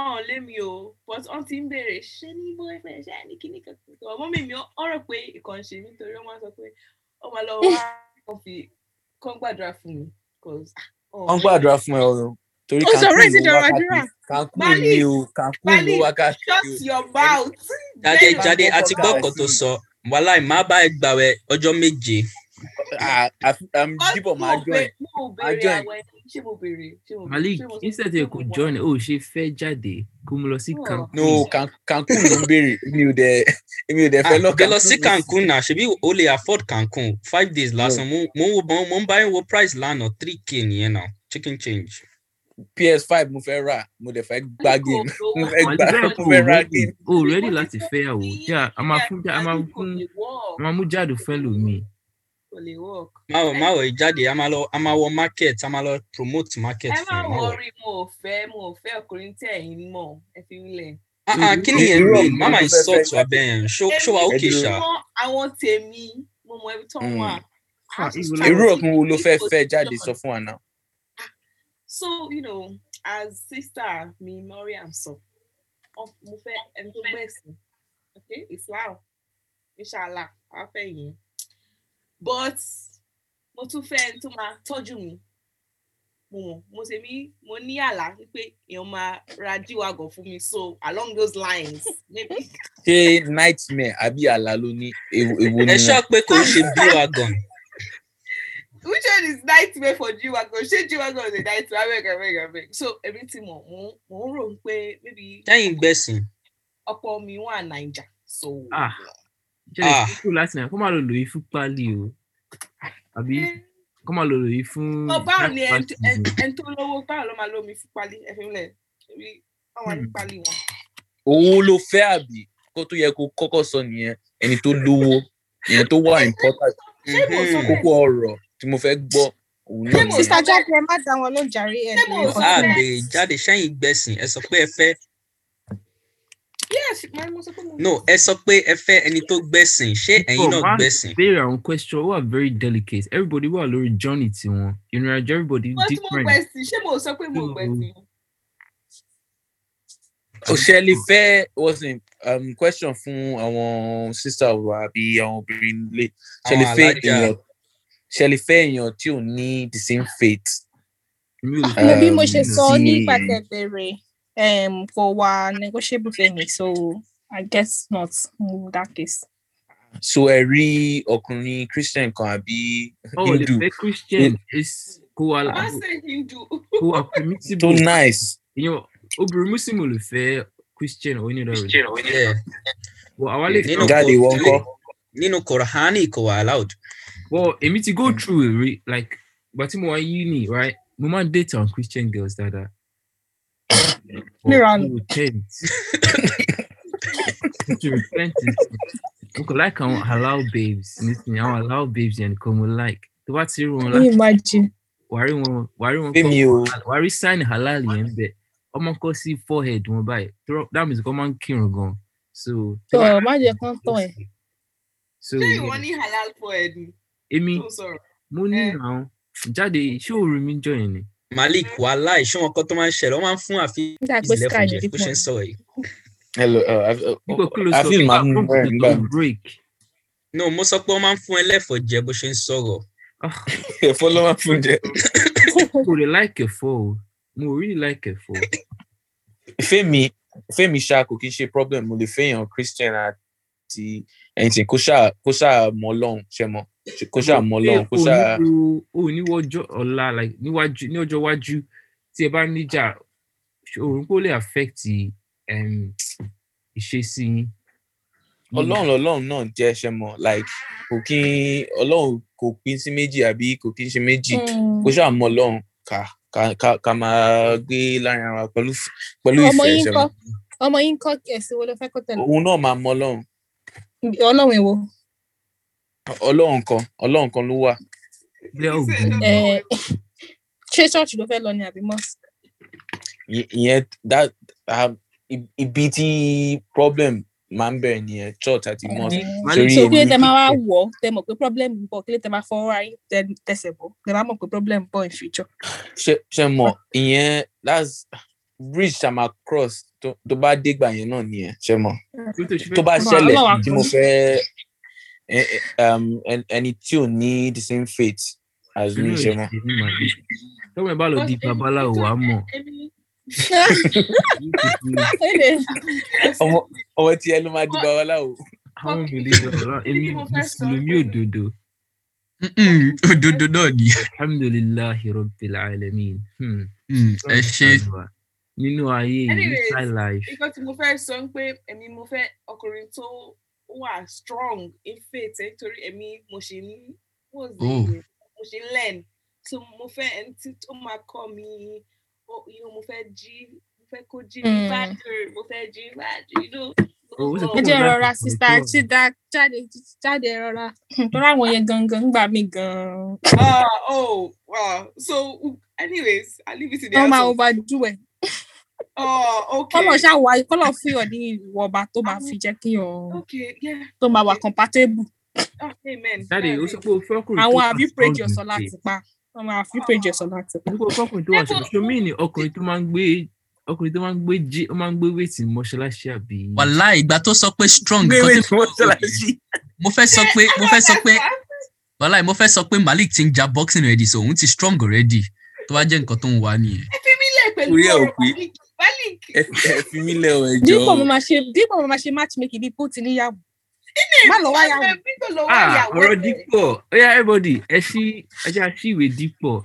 Speaker 5: ọ̀hún lémi o, oh, but wọ́n ti ń béèrè ṣé ní boyfriend ṣé ní kíní kankan. Ọmọ mi mi ó rò pé ìkànnì ṣe nítorí wọ́n máa sọ pé ó máa lọ wá kàn fi kàn gbàdúrà fún mi. 'cause, ah, oh,
Speaker 7: Wọ́n ń gbàdúrà fún ẹ o. Torí
Speaker 4: Ó sọ
Speaker 7: Cancun
Speaker 4: ọ̀rọ̀ yìí ti
Speaker 7: ló
Speaker 4: dọ̀rọ̀
Speaker 7: wákàtí.
Speaker 4: àdúrà.
Speaker 7: Cancun ni o. Cancun ló
Speaker 5: Bali,
Speaker 7: wákàtí
Speaker 5: Shut
Speaker 7: o.
Speaker 5: your mouth.
Speaker 6: jáde
Speaker 5: Lẹ́yìn
Speaker 6: jáde
Speaker 7: àkọ́kọ́
Speaker 6: àti gbọ́ ọ̀kan tó
Speaker 7: kàwé sí.
Speaker 6: sọ wàláì má bá ẹ gbàwẹ ọjọ́ méje
Speaker 7: Ah, àfi- um,
Speaker 5: Because mo
Speaker 7: Jíbọ̀ máa
Speaker 5: ò
Speaker 7: join.
Speaker 5: bè- mo ò
Speaker 7: Máa
Speaker 5: béèrè
Speaker 7: join.
Speaker 5: àwọn ẹni, ṣé mo béèrè? Ṣé mo béèrè?
Speaker 3: Malik
Speaker 5: Ṣé mo sọ
Speaker 3: instead
Speaker 5: pé
Speaker 3: ẹ
Speaker 5: mo
Speaker 3: kò
Speaker 5: wà?
Speaker 3: join ẹ, ó ṣe fẹ́ jáde kó mo lọ sí
Speaker 5: Sure.
Speaker 3: Cancun.
Speaker 7: No, Can- Cancun ló ń béèrè. Èmi ò dẹ̀ èmi ò dẹ̀ fẹ́
Speaker 6: Ah,
Speaker 7: lọ
Speaker 6: dé lọ sí cancun náà ṣebí o lè afford cancun five days lásán mo mo ń wo bọ́n mo ń bá yín wo price lánàá three k nìyẹn náà chicken change.
Speaker 7: PS5 mo fẹ́ rà. Mo dẹ̀ fẹ́ gbá
Speaker 5: Kò
Speaker 7: game.
Speaker 5: lówó.
Speaker 7: Mo fẹ́ gbá
Speaker 3: Malik
Speaker 7: mo fẹ́ rà
Speaker 3: bẹ́ẹ̀
Speaker 7: game.
Speaker 3: kó o
Speaker 5: Wọ́n
Speaker 3: rẹ́dì
Speaker 5: ti
Speaker 3: Oh, láti
Speaker 5: sọ
Speaker 3: fẹ́ yàwó
Speaker 5: pé
Speaker 3: já a máa fún já a máa
Speaker 5: Kò
Speaker 3: fún
Speaker 5: lè work.
Speaker 3: a máa mú jáde fẹ́ lómi.
Speaker 5: Kò lè work.
Speaker 6: máwọ máwọ ìjáde a máa lọ a máa wọ market a máa lọ promote market
Speaker 5: ẹ má
Speaker 6: fún máwọ.
Speaker 5: wọrí mo ò fẹ́ mo ò fẹ́ ọkùnrin tí ẹ̀yin mọ̀ ẹ fi wílẹ̀.
Speaker 6: Ah, kí ni yẹn
Speaker 7: Irú
Speaker 6: mi
Speaker 7: ọ̀gbìn
Speaker 6: mama
Speaker 7: ló fẹ́ fẹ́
Speaker 6: insult
Speaker 7: jáde.
Speaker 6: abẹ yẹn ṣó ṣó wa ok
Speaker 7: Ẹdúró.
Speaker 6: ṣá.
Speaker 5: mọ àwọn tèmi mo mọ ibi tó ń wà. I'm
Speaker 3: Ah,
Speaker 5: just
Speaker 3: irú
Speaker 5: trying
Speaker 7: Hmm. Irú
Speaker 5: to
Speaker 7: ọ̀gbìn wo ló fẹ́
Speaker 5: keep
Speaker 7: fẹ́ jáde
Speaker 5: position.
Speaker 7: sọ fún wa náà?
Speaker 5: So you know as sister mi Mariam sọ ọ- mo fẹ́ ẹni tó gbẹ̀sìn okay Islam inshallah wàá fẹ́ yẹn but mo tún fẹ́ ẹni tó máa tọ́jú mi mo mọ̀ mo ṣe mí mo ní àlá wípé èèyàn máa ra jíwagọ̀ fún mi so along those lines maybe
Speaker 7: Ṣé nightmare àbí àlá ló ní èwo èwo ni
Speaker 6: ẹ
Speaker 7: wọn?
Speaker 6: ṣáà pé kò ń ṣe bí wagon
Speaker 5: which one is nightmare for jíwagọ̀ ṣé jíwagọ̀ is a nightmare abeg abeg abeg so èmi ti mọ̀ mo ń- mo ń rò ó pé maybe
Speaker 6: lẹ́yìn gbẹ̀sìn
Speaker 5: ọkọ mi wà naija so
Speaker 3: Ah, jáde
Speaker 6: Ah.
Speaker 3: kúrò láti náà kó máa lọ lòyìn fún pálí o àbí
Speaker 5: Eh,
Speaker 3: kó máa lọ lòyìn fún.
Speaker 5: ọ báwo
Speaker 3: jack
Speaker 5: ni ẹni tó-
Speaker 3: party
Speaker 5: ẹni-
Speaker 3: ni.
Speaker 5: ẹni tó lówó báwo ló máa lómi fún pálí ẹfẹ ńlẹ ẹbí báwọn ní
Speaker 3: Hmm.
Speaker 5: pálí wọn.
Speaker 7: Owó ló fẹ́ àbí kó tó yẹ kó kọ́kọ́ sọ nìyẹn ẹni tó lówó ìyẹn tó wà important
Speaker 5: ṣé mo sọ
Speaker 6: Mhm.
Speaker 5: bẹ́ẹ̀
Speaker 7: kókó ọ̀rọ̀ tí mo fẹ́ gbọ́ òun náà
Speaker 5: Ṣé mo
Speaker 7: nìyẹn.
Speaker 5: sá-
Speaker 8: Sister Jáde, ẹ má dá wọn lóhùn jàre ẹ̀
Speaker 5: Ṣé mo
Speaker 8: bèrè
Speaker 5: sọ
Speaker 8: nǹkan tí
Speaker 5: bẹ́ẹ̀?
Speaker 8: wọ́n
Speaker 6: àbẹ jáde sẹ́yìn gbẹ̀sìn ẹ sọ pé ẹ fẹ́
Speaker 5: yes máa mo sọ pé mo.
Speaker 6: no ẹ sọ pé ẹ fẹ́ ẹni tó gbẹ̀sìn ṣé ẹ̀yin
Speaker 3: Bọ̀,
Speaker 6: náà
Speaker 3: má
Speaker 6: gbẹ̀sìn.
Speaker 3: Béèrè àwọn question wà very delicate. Everybody wà lórí journey tiwọn. Ìrìn àjò everybody
Speaker 5: wọ́n tí mo
Speaker 3: different.
Speaker 5: gbẹ̀sìn ṣé mo sọ pé mo
Speaker 3: Mm.
Speaker 5: gbẹ̀sìn.
Speaker 7: Òṣè lè fẹ́ what's name um, question fún àwọn sísá wa àbí àwọn obìnrin ilé ṣe lè
Speaker 6: Àwọn
Speaker 7: fẹ́
Speaker 6: alájà.
Speaker 7: èèyàn ṣe lè fẹ́ èèyàn tí ò ní the same faith.
Speaker 3: Èmi ò
Speaker 8: mo bí mo
Speaker 7: Um,
Speaker 8: ṣe sọ
Speaker 7: sí.
Speaker 8: nígbà tẹ bèrè um, kò wá negotiable fẹmi so i guess not in that case.
Speaker 7: So ẹ rí ọkùnrin Christian kan àbí
Speaker 3: Ó lè
Speaker 7: Hindu
Speaker 3: fẹ́ Christian. It's- Kó wa
Speaker 5: má ṣe hindu.
Speaker 3: kó wa
Speaker 7: tó
Speaker 3: permissible.
Speaker 7: nice.
Speaker 3: èèyàn obìnrin muslim ò lè fẹ christian onídọ̀rẹ́
Speaker 6: Yeah.
Speaker 3: bọ̀ àwa lè fẹ́
Speaker 6: nínú
Speaker 7: Jáde
Speaker 6: kò-
Speaker 7: wọn kọ́.
Speaker 6: nínú kòránì kò wà allowed.
Speaker 3: bọ̀ èmi ti go through it re like ìgbà tí mo wá uni right mo máa ń date àwọn christian girls dáadáa. But
Speaker 8: Nírànú.
Speaker 3: to repent to repent is mo kò like àwọn halal babes nísìnyí àwọn halal babes yẹn nìkan mo like tó bá ti rí wọn
Speaker 8: can you imagine
Speaker 3: wàárí wọn wàárí wọn
Speaker 7: Fẹ́mi o.
Speaker 3: wàárí sign halal yẹn bẹ ọmọ kọ sí forehead wọn báyìí tó rọ- that means kọ́ máa ń kírun gan so.
Speaker 8: tó o má jẹ kán tán ẹ
Speaker 3: so
Speaker 5: ṣé
Speaker 3: yeah.
Speaker 5: ìwọ ní halal for ẹni
Speaker 3: èmi
Speaker 5: tó ń sọ̀rọ̀.
Speaker 3: mo ní
Speaker 5: Eh.
Speaker 3: àwọn jáde ṣé òru mi ń jọ yẹn ni
Speaker 6: malik wàláì ṣé wọn kọ́ tó máa ń ṣẹlẹ̀ wọ́n máa ń fún àfi
Speaker 8: nígbà pé sky
Speaker 6: ìsìlẹ̀fún jẹ
Speaker 8: lè
Speaker 6: bó
Speaker 8: pọ̀
Speaker 6: ṣe ń sọ̀rọ̀ yìí.
Speaker 7: Hello, uh, I've- uh,
Speaker 3: nígbà kí ló
Speaker 7: I
Speaker 3: sọ "Ah,
Speaker 7: feel
Speaker 3: nígbà
Speaker 7: máa mú
Speaker 3: fún
Speaker 7: bẹ́ẹ̀
Speaker 3: mi
Speaker 7: nígbà
Speaker 3: tó break
Speaker 6: no mo sọ pé wọ́n máa ń fún ẹlẹ́fọ̀ jẹ bó ṣe ń sọ̀rọ̀.
Speaker 7: ẹ̀fọ́ ló máa fún jẹ.
Speaker 3: kò lè láìkẹ̀ fọ́ o mo ò really láìkẹ̀ fọ́
Speaker 7: fẹ́mi fẹ́mi ṣá kò kí n ṣe problem mo lè fẹ́yàn christian àti anything kó ṣáà kó ṣáà mọ ọlọ́run ṣe mọ kó ṣáà mọ ọlọ́run kó ṣáà
Speaker 3: o níwájú ọ̀la like níwájú ní ọjọ́ iwájú tí ẹ bá níjà òun kò lè affect um, ìṣesí yín.
Speaker 7: ọlọ́run lọ́lọ́run náà jẹ́ ṣe mọ like kò kí n ọlọ́run kò pín sí méjì àbí kò kí n ṣe méjì kó ṣáà mọ ọlọ́run ká ká ká ká máa gbé láàrin ara wa pẹ̀lú pẹ̀lú
Speaker 4: ọmọ
Speaker 7: ìfẹ́
Speaker 4: yín
Speaker 7: ṣe
Speaker 4: kọ
Speaker 7: mọ
Speaker 4: ọmọ yín kọ ẹsìn wo ló fẹ kó tẹlẹ
Speaker 7: òun náà máa mọ ọlọ́run
Speaker 4: ọlọrun èwo
Speaker 7: ọlọ́run kan ọlọ́run kan ló wà
Speaker 3: Bóyá ògùn ni.
Speaker 4: ẹ Eh, ṣé ṣọọṣì ló fẹ lọ ni àbí mosque
Speaker 7: Ìy- ìyẹn that um, i- ibi tí problem máa ń bẹ̀rẹ̀ nìyẹn church àti mosque
Speaker 3: Malik,
Speaker 7: Torí
Speaker 4: Eh, so
Speaker 7: èmi
Speaker 4: kí ló tẹ máa wá
Speaker 7: Christian.
Speaker 4: wọ tẹ mọ pé problem ń bọ kí ló tẹ máa fọwọ́ ayé tẹsẹ̀ bọ tẹ máa mọ pé problem bọ in future.
Speaker 7: ṣe ṣe mọ ìyẹn that's bridge tá a máa cross tó tó bá dégbà yẹn náà nìyẹn ṣe mọ
Speaker 3: kí ló tó ṣe fẹ́-
Speaker 7: tó bá
Speaker 4: Ọlọ́run-
Speaker 7: ṣẹlẹ̀
Speaker 4: Ọlọ́run
Speaker 7: tí mo
Speaker 4: àkànní.
Speaker 7: fẹ́ ẹ- ẹ- um, ẹn- ẹni tí ò ní the same faith as me ṣe mọ.
Speaker 3: tọ́wọ́n ẹ bá lọ di babaláwo wa mọ̀
Speaker 4: Anyway,
Speaker 7: ọmọ ọmọ tí ẹ ló máa di babaláwo.
Speaker 3: àwọn obìnrin lọ ọ̀rọ̀ èmi mùsùlùmí òdodo
Speaker 6: Mm-mm, Òdodo náà ni.
Speaker 3: alhamdulilahi rabbil alamin Hmm,
Speaker 6: Mm, Ẹ ṣe
Speaker 3: ṣàánú wa. nínú ayé yìí
Speaker 5: Anyways,
Speaker 3: inside life
Speaker 5: nǹkan tí mo fẹ́ sọ ń pé èmi mo fẹ́ ọkùnrin tó wà strong in faith ẹ̀ nítorí èmi mo ṣe ní mo ṣe
Speaker 6: Oh.
Speaker 5: mo ṣe learn so mo fẹ́ ẹni tí ó máa kọ́ mi ó- you know, mo fẹ́ jí mo fẹ́ kó jí ní
Speaker 4: Mm.
Speaker 5: bájú mo fẹ́ jí bájú you know.
Speaker 3: Oh, ó sì
Speaker 5: gbogbo
Speaker 4: ẹ
Speaker 3: kúrò
Speaker 4: jẹ́
Speaker 3: láti
Speaker 4: rọra
Speaker 3: ọ̀pọ̀
Speaker 4: sista
Speaker 3: ìjọ.
Speaker 4: chida jáde jáde rọra tó ráwọn yẹn gangan gbà mí gan-an.
Speaker 5: Ah, oh, wow. So, anyways, I leave it in the
Speaker 4: wọ́n máa
Speaker 5: hands of-
Speaker 4: overdo ẹ̀
Speaker 5: Oh, okay.
Speaker 4: kọ́lọ̀ ṣáà wáyé kọ́lọ̀ fún yàn ní ìwọ̀ba tó máa fi jẹ́ kí yàn
Speaker 5: Okay, yeah.
Speaker 4: tó máa wà compatible
Speaker 5: Oh, amen.
Speaker 3: dáre ó sọ pé o fẹ́ ọkùnrin
Speaker 4: àwọn
Speaker 3: wà
Speaker 4: àbí péjì
Speaker 3: strong
Speaker 4: ọ̀sán
Speaker 3: in
Speaker 4: láti
Speaker 3: faith.
Speaker 4: pa àwọn àbí péjì ọ̀sán láti
Speaker 3: ó sọ
Speaker 4: pa.
Speaker 3: pé o fẹ́ ọkùnrin tó wà strong ṣomi ni ọkùnrin tó máa ń gbé ọkùnrin tó máa ń gbé jí ó máa ń gbé wéètì mọ́ṣáláṣí àbí.
Speaker 6: wàhálà ìgbà tó sọ pé strong nǹkan tí mo rò yẹn. mo fẹ́ sọ pé mo fẹ́ sọ pé wàhálà mo fẹ́ sọ pé Malik ti ń ja boxing ready so òun ti strong already tó bá jẹ́ nǹkan tó ń wá nìyẹn.
Speaker 5: Ẹ fi mí lẹ̀ pẹ̀lú
Speaker 7: Orí ẹ̀ ò
Speaker 5: ọ̀rọ̀
Speaker 7: pé.
Speaker 5: Malik. Malik,
Speaker 7: ẹ ẹ fi mí lẹ o ẹjọ
Speaker 4: dípò mo máa ṣe dípò mo máa ṣe match making bí póòtù níyàwó má lọ wá yàwó.
Speaker 5: Bíbọ̀ lọ wá
Speaker 3: Ah,
Speaker 5: ìyàwó
Speaker 3: ọ̀rọ̀
Speaker 5: rẹ̀.
Speaker 3: dípọ̀ oya everybody ẹ ṣí ẹ jẹ́ àṣì ìwé dípọ̀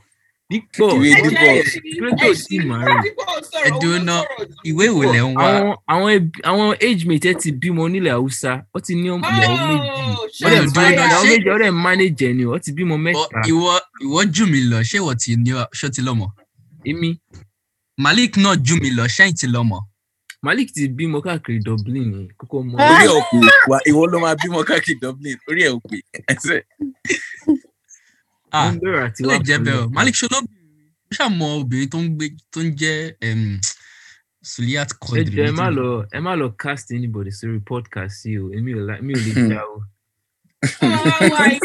Speaker 3: dípọ̀
Speaker 7: Ìwé
Speaker 5: Ẹ
Speaker 7: Dípọ̀.
Speaker 5: jẹ́ ẹ̀ṣin,
Speaker 3: kí ló tó
Speaker 5: ẹ̀ṣin.
Speaker 3: ti màárì.
Speaker 5: Dípọ̀
Speaker 6: ẹ
Speaker 5: sọ̀rọ̀,
Speaker 6: dúró
Speaker 5: òun ló
Speaker 6: ná
Speaker 5: sọ̀rọ̀ jù.
Speaker 6: ìwé ìwé lẹ̀ ń wá
Speaker 3: àwọn àwọn ẹbí- àwọn age mate ẹ ti bímọ nílẹ̀ haúsá ó ti ní ọmọ ìyàwó méjì
Speaker 5: Oh,
Speaker 3: ó dẹ̀
Speaker 5: shots
Speaker 6: dúró
Speaker 3: manage
Speaker 6: dáadáa,
Speaker 5: fired.
Speaker 3: àwọn
Speaker 6: ṣé-
Speaker 3: méjì ó dẹ̀ manage ẹ̀ ni ó ti bímọ
Speaker 6: Bọ̀,
Speaker 3: mẹ́ta
Speaker 6: ìwọ ìwọ jù mí lọ ṣé ìwọ ti ní wa- ṣó ti lọ́mọ
Speaker 3: èmi
Speaker 6: Malik náà jù mí lọ ṣẹ́yìn ti lọ́mọ.
Speaker 3: malik ti bímọ káàkiri dublin ni kókó mọ
Speaker 4: Ah.
Speaker 7: orí ẹ ò pé wà ìwọ ló máa bímọ káàkiri dublin orí ẹ ò pé ẹsẹ
Speaker 6: Ah,
Speaker 3: nọ́mbẹ̀rẹ̀ àti
Speaker 6: ó lè jẹ́ bẹ́ẹ̀ o Malik ṣó lóbìnrin ó ṣàmọ obìnrin tó ń gbé tó ń jẹ́ em, Suliat
Speaker 3: ẹ
Speaker 6: Quadri.
Speaker 3: jọ ẹ má lọ ẹ má lọ cast anybody sórí podcast yìí o èmi ò la- mi ò lè
Speaker 7: Hmm.
Speaker 3: já o
Speaker 5: Oh, why?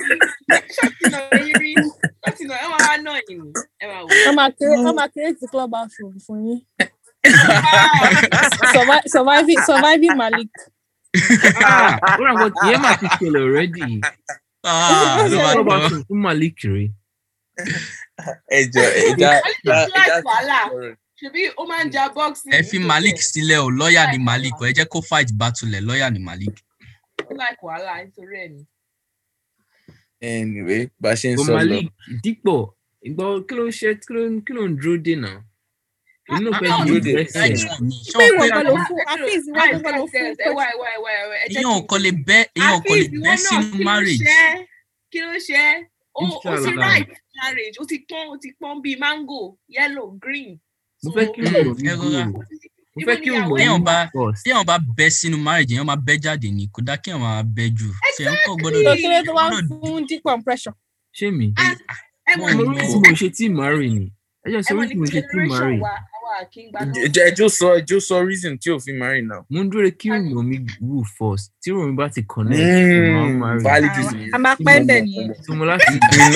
Speaker 5: Ṣọ́ọ̀tì náà rí rí. Ṣọ́ọ̀tì náà, ẹ máa wá náà yìí. Ẹ máa wò.
Speaker 4: wọ́n máa create wọ́n máa create club house room fún yín Survi- surviving surviving malik.
Speaker 3: Ah, ó rà nǹkan ìyẹn máa ti ṣẹlẹ̀ already
Speaker 6: Ah, ló
Speaker 3: Ìyẹn
Speaker 6: bá
Speaker 3: tó bá
Speaker 6: tọ́.
Speaker 3: sùn fún malik rèé
Speaker 7: ẹjọ ẹjá
Speaker 5: Malik
Speaker 7: ẹjá
Speaker 5: is like wàhálà.
Speaker 7: sọ̀rọ̀.
Speaker 5: Ṣebí ó máa ń ja boxing.
Speaker 6: ẹ fi Malik sílẹ̀ o lọ́ọ̀yà ni Malik o ẹ jẹ́ kó fight batulẹ̀ lọ́ọ̀yà ni Malik.
Speaker 5: Ó like wàhálà nítorí ẹ̀ ni.
Speaker 7: anyway bá a ṣe ń
Speaker 3: but
Speaker 7: sọ lọ
Speaker 3: malik dípò ìgbà wo- kí ló ń ṣe kí ló ń- kí ló ń dúró dè náà èmi náà fẹ́
Speaker 6: Ah,
Speaker 3: dúró
Speaker 7: dúró dè.
Speaker 3: dè ẹsẹ̀
Speaker 6: Ṣé
Speaker 4: pé
Speaker 6: o
Speaker 4: ìwọ
Speaker 6: pé
Speaker 4: kan ló fún
Speaker 5: Guys,
Speaker 4: afeez ìwọ
Speaker 5: guys,
Speaker 4: kan ló fún
Speaker 5: guys, ẹ wá,
Speaker 4: pé
Speaker 5: ẹ wá, ẹ wá, ẹ wá, ẹ jẹ́
Speaker 6: èèyàn
Speaker 5: kí n
Speaker 6: kò
Speaker 5: lè-
Speaker 6: lè bẹ́ èèyàn kò lè
Speaker 5: Afeez, ìwọ
Speaker 6: bẹ́
Speaker 5: náà,
Speaker 6: sínú
Speaker 5: kí ló
Speaker 6: marriage.
Speaker 5: ṣe ẹ́? Kí ló ṣe ẹ́? Ó ó ti
Speaker 3: Inshallah.
Speaker 5: right marriage, ó ti pọ́n, ó ti pọ́n bíi mango, yellow, green. So,
Speaker 3: mo fẹ́ kí
Speaker 6: Mm,
Speaker 3: rùmọ̀ mi
Speaker 6: ẹ rọra.
Speaker 3: gbòòrò mo fẹ́ kí rùmọ̀ mi
Speaker 6: Téèyàn
Speaker 3: ní
Speaker 6: bá-
Speaker 3: first
Speaker 6: téèyàn bá bẹ́ sínú marriage èèyàn máa bẹ́ jáde ni kò dá kéèyàn máa bẹ́ jù. ṣé ẹ ń kọ́ gbọ́dọ̀
Speaker 4: tó
Speaker 5: Exactly.
Speaker 4: kí ló tó wá ń
Speaker 6: gbọ́dọ̀
Speaker 4: fún decompression.
Speaker 3: ṣé mi
Speaker 6: Ah,
Speaker 5: ẹ
Speaker 6: mo
Speaker 5: mọ̀ ní
Speaker 3: mo rí
Speaker 6: mọ̀.
Speaker 3: tí mo ṣe tí màá rè ni ẹ jẹ́
Speaker 5: ẹ
Speaker 3: sọ
Speaker 5: mọ̀ ní
Speaker 3: rí tí mo ṣe tí màá
Speaker 5: generation
Speaker 3: rè
Speaker 5: wa, àwa kì í
Speaker 6: Mm.
Speaker 5: gba
Speaker 7: J-
Speaker 5: náà.
Speaker 7: jẹ́ ẹjọ́ sọ ẹjọ́ sọ reason tí òfin marry now.
Speaker 3: mo ń dúró de kí rùmọ̀ mi wù first tí rùmọ̀ mi bá ti
Speaker 6: Hmm,
Speaker 3: connect mo máa ń
Speaker 7: Mm,
Speaker 3: marry
Speaker 7: valid
Speaker 4: Àwa-
Speaker 7: reason yẹn.
Speaker 4: a máa pẹ́ ń bẹ̀ nìyẹn.
Speaker 3: so mo láti
Speaker 7: mi náà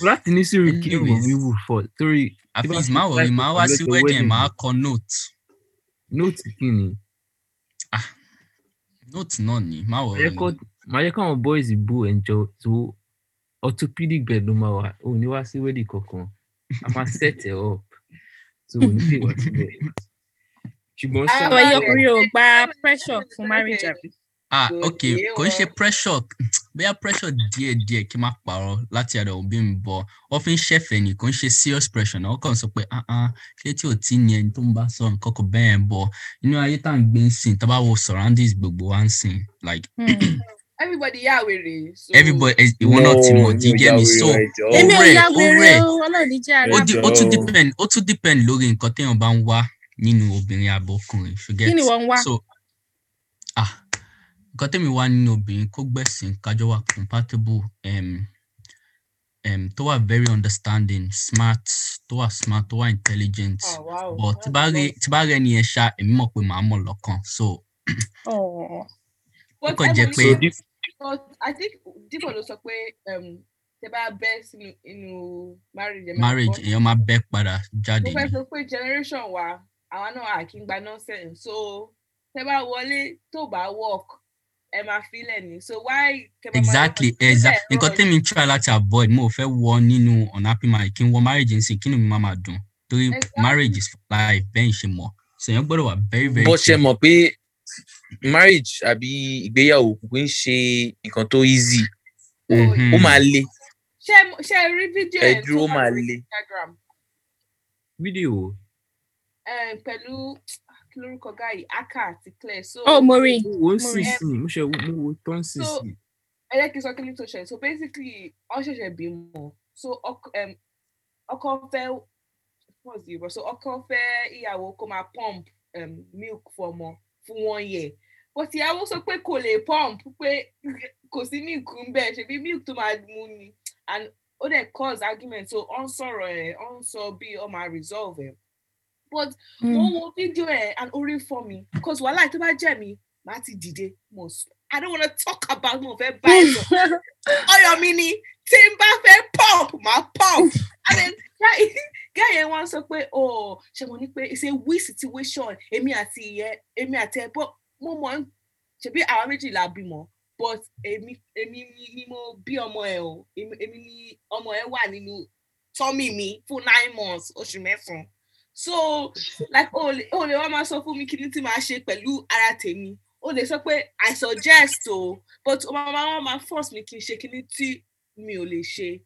Speaker 3: mo láti ní sùúrù kí rùmọ̀ mi
Speaker 6: Anyways.
Speaker 3: wù first torí tí bá
Speaker 6: Afeez
Speaker 3: ti
Speaker 6: má wọrí
Speaker 3: type
Speaker 6: máa
Speaker 3: ọ̀kan
Speaker 6: wá sí
Speaker 3: lọ́jọ́
Speaker 6: wedding ẹ̀,
Speaker 3: wedding
Speaker 6: máa
Speaker 3: mi,
Speaker 6: kọ note
Speaker 3: nóòtì kí ni
Speaker 6: note náà ni má
Speaker 3: Màá
Speaker 6: wọrí.
Speaker 3: yẹ kọ́- màá yẹ káwọn boys bú ẹ̀jọ̀ tó orthopedic bed ló máa wà ò ní wá sí wedding kankan a máa set ẹ̀ up so ò ní lè wá síbẹ̀. ṣùgbọ́n
Speaker 5: Ah,
Speaker 4: Àwọn
Speaker 3: ṣá
Speaker 4: ẹyọ ọkùnrin ò gba pressure fún marriage àbí.
Speaker 6: ah
Speaker 5: Kò
Speaker 6: ok
Speaker 5: yé
Speaker 6: kò ń ṣe
Speaker 5: wọn.
Speaker 6: pressure bóyá pressure díẹ̀ díẹ̀ kí n má parọ́ láti àdá òbí mi bọ̀ wọ́n fi ń ṣẹ̀fẹ̀ ni kò ń ṣe serious pressure náà wọ́n kàn sọ pé ah ah ṣé tí ò tí ni ẹni tó ń bá sọ nǹkan kan bẹ́ẹ̀ bọ̀ inú ayé tá à ń gbé ń sìn tá a bá wo surroundings gbogbo wa ń sìn like
Speaker 4: Hmm.
Speaker 5: everybody yà wèrè. so-
Speaker 6: everybody eh, ìwọ náà ti
Speaker 7: Hmm,
Speaker 6: mọ̀ do you get me so
Speaker 7: Oh,
Speaker 4: Èmi ò
Speaker 6: rẹ̀,
Speaker 4: ya
Speaker 6: ó
Speaker 4: wèrè
Speaker 6: rẹ̀.
Speaker 4: o, ọlọ́run ní jẹ́
Speaker 6: ó
Speaker 4: àrà.
Speaker 6: di- ó tún
Speaker 7: Ẹjọ́.
Speaker 6: depend ó tún depend lórí nǹkan téèyàn bá ń wá nínú obìnrin abọkùnrin forget
Speaker 4: Kí ni wọ́n ń wá?
Speaker 6: so ah nǹkan tẹ́mi wá nínú obìnrin kó gbẹ̀sìn kájọ wà compatible um, um, tó wà very understanding smart tó wà smart tó wà intelligent
Speaker 5: Ah, wow.
Speaker 6: but tí bá rí tí bá rí ẹni yẹn ṣá èmi mọ̀ pé màá mọ̀ lọ́kàn so
Speaker 4: Ọ̀ọ́.
Speaker 5: But
Speaker 6: ó kàn jẹ́
Speaker 5: everybody-
Speaker 6: pé
Speaker 3: so this
Speaker 5: But I think Dípò ló sọ pé um, tẹ bá bẹ́ sínú inú marriage. ẹ máa
Speaker 6: marriage
Speaker 5: bọ́.
Speaker 6: èèyàn máa bẹ́ padà jáde
Speaker 5: Mo
Speaker 6: ni
Speaker 5: fẹ́ sọ pé generation wa àwa náà à kí ń gba nonsense so tẹ bá wọlé tó bá work ẹ máa filẹ̀ ni so why tẹ bá máa
Speaker 6: exactly
Speaker 5: lọ-
Speaker 6: exactly
Speaker 5: Bẹ́ẹ̀
Speaker 6: nǹkan
Speaker 5: rọ̀
Speaker 6: tẹ́mi ń try láti avoid mo ò fẹ́ wọ nínú unhappy marriage kí n wọ marriage nsìn kí ni mi máa máa dùn torí
Speaker 5: Exactly.
Speaker 6: marriage is for life bẹ́ẹ̀ ṣe mọ̀ sèyàn gbọ́dọ̀ wà very very
Speaker 7: bó ṣe
Speaker 6: careful.
Speaker 7: mọ̀ pé marriage àbí ìgbéyàwó kò ń ṣe nǹkan tó easy
Speaker 5: ni. So,
Speaker 6: Mhm.
Speaker 7: ó máa le
Speaker 5: ṣé ṣé ẹ rí fídíò
Speaker 7: Ẹ
Speaker 5: ẹ̀ tó
Speaker 7: dúró
Speaker 5: wà
Speaker 7: máa
Speaker 5: lórí
Speaker 7: le.
Speaker 5: Instagram
Speaker 3: fídíò
Speaker 5: um, pẹ̀lú kí lórúkọ gáyì Aka àti Claire so
Speaker 6: Oh.
Speaker 4: Ó mo rí.
Speaker 3: wo
Speaker 4: Mo rí.
Speaker 3: sísìn mo ṣe wo- mo wo tán sísìn
Speaker 5: ẹ jẹ́ kí n sọ kí ni tó ṣẹlẹ̀ so basically ọ ṣẹ̀ṣẹ̀ bímọ so ọk- um, ọkọ fẹ́ what's the word so ọkọ fẹ́ ìyàwó kó máa pump um, milk fún ọmọ fún one year but ìyàwó sọ pé kò lè pump pé kò sí milk ń bẹ̀ ṣebí milk tó máa mu ni and ó dẹ̀ cause argument so ọ ń sọ̀rọ̀ ẹ̀ ọ ń sọ bí ọ máa resolve ẹ̀ but
Speaker 4: Hmm.
Speaker 5: wọ́n wo fídíò ẹ̀ and orí fọ́ mi cause wàhálà tó bá jẹ́ mi màá ti dìde mo sùn i don't wanna talk about mo fẹ́ bá ẹ̀ sọ ọyọ mi ni tí n bá fẹ́ pump máa pump and then guy- guy yẹn wá sọ pé oh ṣe mo ní pé it's a win situation èmi àti ìyẹ èmi àti ẹ bọ mo mọ ń ṣebí àwa méjì la bímọ but èmi èmi ni ni mo bí ọmọ ẹ o èmi èmi ni ọmọ ẹ wà nínú tọ́mì mi fún nine months oṣù mẹ́sàn-án so like o lè o lè wá máa sọ fún mi kí ni tí màá ṣe pẹ̀lú ara tèmi o lè sọ pé i suggest o. Oh but ọmọ mama wa máa force mi kí n ṣe kinní tí mi ò lè ṣe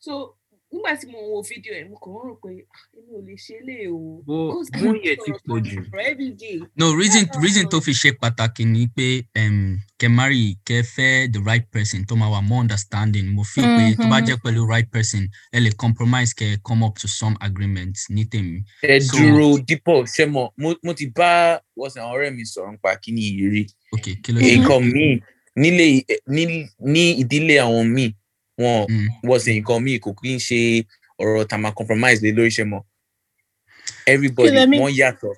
Speaker 5: so nígbà tí mo wo fídíò ẹ mo kàn ń rò pé "Ah, èmi ò lè ṣe lé o.
Speaker 3: bó
Speaker 5: Because
Speaker 3: wọn yẹ ti
Speaker 5: sọ̀rọ̀
Speaker 3: pọ̀ jù
Speaker 5: sọ̀rọ̀ every day.
Speaker 6: no reason
Speaker 5: That's
Speaker 6: reason
Speaker 5: all.
Speaker 6: tó fi ṣe pàtàkì ni pé um, kẹ́ marry kẹ́ fẹ́ the right person tó máa wà more understanding mo fi pé tó bá
Speaker 4: Mhm.
Speaker 6: jẹ́ pẹ̀lú right person ẹ lè compromise kẹ́ come up to some agreement ní tèmi
Speaker 7: ẹ
Speaker 6: So-
Speaker 7: dúró dípò ṣe mọ̀ mo mo ti bá wọsàn àwọn ọ̀rẹ́ mi sọ̀rọ̀ nípa kíní yìí rí
Speaker 6: ok kí ló ṣe.
Speaker 7: nǹkan míì nílé ẹ- ní ní ìdílé àwọn míì wọn
Speaker 6: Mm.
Speaker 7: wọsàn nǹkan míì kò kí ń ṣe ọ̀rọ̀ tá a máa compromise lé lórí ṣe mọ̀ everybody
Speaker 4: Kí lẹ mean?
Speaker 7: wọ́n yàtọ̀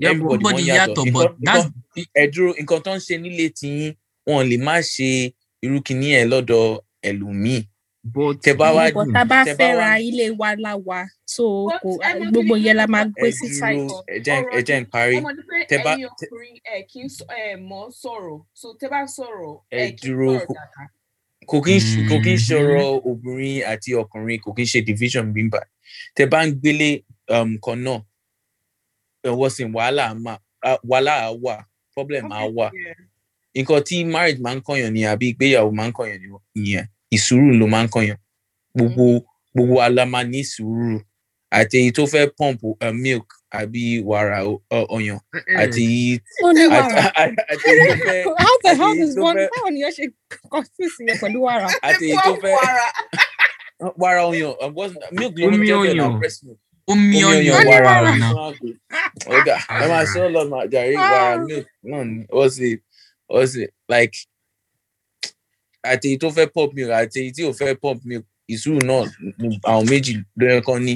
Speaker 3: yàbọ̀
Speaker 7: everybody
Speaker 6: everybody
Speaker 7: wọ́n yàtọ̀
Speaker 6: yàtọ̀ but
Speaker 7: nǹkan nǹkan
Speaker 6: that's
Speaker 7: ẹ dúró nǹkan tó ń ṣe nílé tiyín wọn lè má ṣe irú kinní ẹ lọ́dọ̀ ẹlòmíì
Speaker 3: but eh,
Speaker 7: tẹ bá wá
Speaker 4: Bọ̀ tá a bá
Speaker 7: tẹ bá
Speaker 4: fẹ́
Speaker 7: wá-
Speaker 4: ra ilé wa láwa so
Speaker 5: But
Speaker 4: kò
Speaker 5: ẹ mọ kí
Speaker 4: gbogbo
Speaker 5: ni
Speaker 4: yẹn la máa
Speaker 7: ẹ
Speaker 4: gbé sí
Speaker 7: dúró
Speaker 4: side.
Speaker 7: ẹ jẹ́ ẹ jẹ́ n parí
Speaker 5: ọmọ ní pé
Speaker 7: Tẹ bá-
Speaker 5: ẹyin ọkùnrin ẹ kì í sọ- ẹ mọ sọ̀rọ̀ so tẹ bá sọ̀rọ̀
Speaker 7: Ẹ
Speaker 5: ẹ kì í
Speaker 7: dúró
Speaker 5: sọ̀rọ̀
Speaker 7: kó-
Speaker 5: dáadáa.
Speaker 7: kò kí ń ṣ- kò kí ń ṣe
Speaker 6: Mhm.
Speaker 7: ọ̀rọ̀ obìnrin àti ọkùnrin kò kí ń ṣe division bímbà tẹ bá ń gbélé um, kan náà ẹwọ sin wàhálà á máa á- wàhálà á wà problem á wà
Speaker 5: Yeah.
Speaker 7: nǹkan tí marriage máa ń kọyàn ni àbí ìgbéyàwó máa ń kọyàn ni ìyẹn ìsùúrù ló máa ń kọyàn gbogbo gbogbo wa la máa ní sùúrù àti èyí tó fẹ́ pump uh, milk àbí wàrà o- ọ- ọyàn
Speaker 3: Mm. eh,
Speaker 7: àti èyí
Speaker 4: Ó ní
Speaker 7: àti
Speaker 4: wàrà.
Speaker 7: àti èyí tó fẹ́
Speaker 4: How the
Speaker 7: àti
Speaker 4: hell
Speaker 7: èyí
Speaker 4: does
Speaker 7: tó
Speaker 4: one
Speaker 7: fẹ́-
Speaker 4: báwo ni wọ́n ṣe confuse yẹn pẹ̀lú wàrà?
Speaker 7: àti èyí tó
Speaker 5: Pump
Speaker 7: fẹ́
Speaker 5: wàrà.
Speaker 7: wàrà ọyàn um, what's- milk ló ń
Speaker 3: Omi
Speaker 7: jẹ́ bẹ́ẹ̀
Speaker 3: ọyàn.
Speaker 7: náà breast milk.
Speaker 6: omi ọyàn
Speaker 4: wàrà.
Speaker 6: wàrà ọ̀nà
Speaker 7: ọjà ẹ máa ṣe ọ lọnà àjàrí wàrà
Speaker 4: Ah.
Speaker 7: milk náà ni ó sì ó sì like àti èyí tó fẹ́ pop milk àti èyí tí ò fẹ́ pop milk ìṣúrù náà ni àwọn méjì lóyún kan ní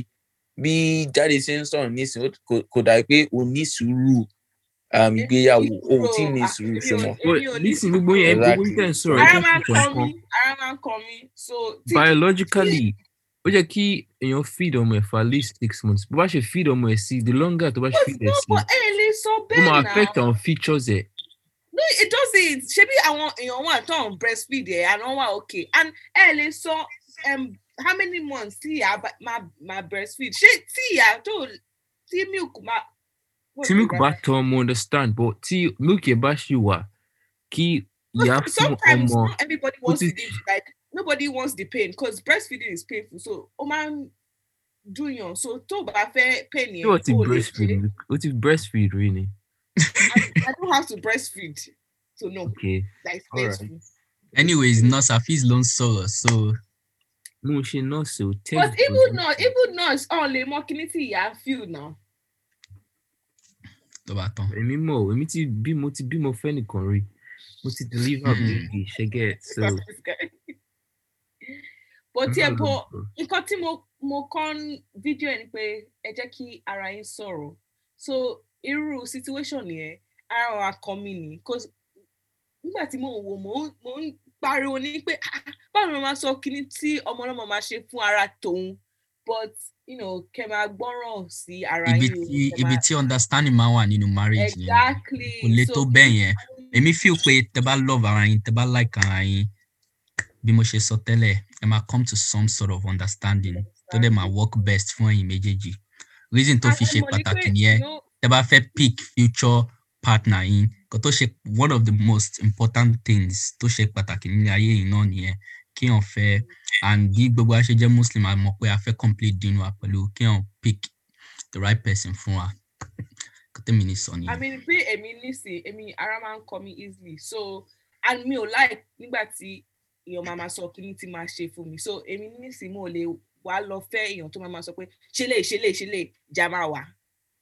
Speaker 7: bí jáde ṣe ń sọ̀rọ̀ nísìnyí ó- kò- kò dà pé o ní sùúrù um, ìgbéyàwó o ò tí ì ní sùúrù ṣọmọ.
Speaker 5: Èmi ò ní
Speaker 3: but nísìnyí gbogbo yẹn gbogbo
Speaker 7: Exactly.
Speaker 3: yín tẹ̀ ń sọ̀rọ̀
Speaker 5: ara
Speaker 3: ẹ̀
Speaker 5: máa ń
Speaker 3: tẹ̀
Speaker 5: kọ
Speaker 3: ń sọ̀rọ̀
Speaker 5: mi
Speaker 3: kan
Speaker 5: ara máa ń kọ mi so tí
Speaker 3: biologically ó yẹ kí èèyàn feed ọmọ ẹ̀ for at least six months bó bá ṣe feed ọmọ ẹ̀ sí the longer tó bá ṣe
Speaker 5: but
Speaker 3: feed
Speaker 5: no
Speaker 3: ẹ̀ sí
Speaker 5: but ẹ lè sọ
Speaker 3: ó máa
Speaker 5: bẹ́ẹ̀ náà.
Speaker 3: affect àwọn features eh? ẹ̀
Speaker 5: no it doesn't ṣebí àwọn èèyàn wà tó ń breastfeed ẹ àná wà okay and ẹ lè sọ um, how many months tí ìyá bá- máa máa breastfeed ṣé tí ìyá tó tí milk máa
Speaker 3: tí milk bá tọ ọmọ understand but tí milk yẹn bá ṣì wà kí ìyá fún
Speaker 5: sometimes
Speaker 3: ọmọ
Speaker 5: not everybody wants
Speaker 3: is-
Speaker 5: to give like nobody wants the pain because breastfeeding is painful so o máa ń dùn yàn so tó o bá fẹ́ pain yẹn
Speaker 3: ṣé o ti
Speaker 5: o lè
Speaker 3: breastfeed
Speaker 5: ṣe.
Speaker 3: o ti breastfeed rí ni
Speaker 5: I don't have to breastfeed so no
Speaker 3: okay
Speaker 5: like
Speaker 3: All right.
Speaker 5: breastfeed.
Speaker 6: anyways nurse afeez ló ń sọ̀rọ̀ so
Speaker 3: mo ṣe nọ́ọ̀sì ò tẹ́
Speaker 5: but even nurse even nurse ọ̀n lè mọ kíní tí ìyá feel now.
Speaker 6: tó bá tán.
Speaker 3: èmi mọ̀ ọ́, èmi ti bí mo ti bímọ fẹ́nìkan rí mo ti deliver
Speaker 6: Hmm.
Speaker 3: baby ṣẹ́gẹ̀ so
Speaker 5: but yeah but
Speaker 3: Mm.
Speaker 5: nǹkan tí mo mo kọ́ ń fídíò ẹ̀ ni pé ẹ jẹ́ kí ara yín sọ̀rọ̀ so irú situation yẹn ara wa kan mi ni 'cause nígbà tí mò ń wo mò ń mò ń pariwo ní pé "Ah, báwo ni mo máa sọ kíní tí ọmọ ọlọ́mọ máa ṣe fún ara tòun but you know kẹ máa gbọ́ràn sí ara
Speaker 6: ibi
Speaker 5: yín o,
Speaker 6: tí
Speaker 5: kẹ́
Speaker 6: ibi
Speaker 5: máa-
Speaker 6: tí understanding máa wà nínú marriage yẹn
Speaker 5: exactly
Speaker 6: kò lè tó bẹ́ẹ̀ yẹn èmi feel pé tẹ bá love ara yín tẹ bá like ara yín bí mo ṣe sọ tẹ́lẹ̀ ẹ máa come to some sort of understanding tó dẹ̀ máa work best fún ẹ̀yin méjèèjì reason tó fi ṣe pàtàkì nìyẹn tẹ bá fẹ́ pick future partner yín kò tó ṣe one of the most important things tó ṣe pàtàkì nílé ayé yìí náà nìyẹn kí èèyàn fẹ́ and bí gbogbo wa ṣe jẹ́ muslim a mọ̀ pé a fẹ́ complete dinu wa pẹ̀lú kí èèyàn pick the right person fún wa kò tẹ́mi ní sọ
Speaker 5: I
Speaker 6: nìyẹn.
Speaker 5: mean pé èmi nísìn èmi ara máa ń kọ mi easily so and mi ò like nígbà tí èèyàn máa máa sọ kí ni ti máa ṣe fún mi so èmi nísìn mo lè wá lọ fẹ́ èèyàn tó máa máa sọ pé ṣe lè ṣe lè ṣe lè jà máa wà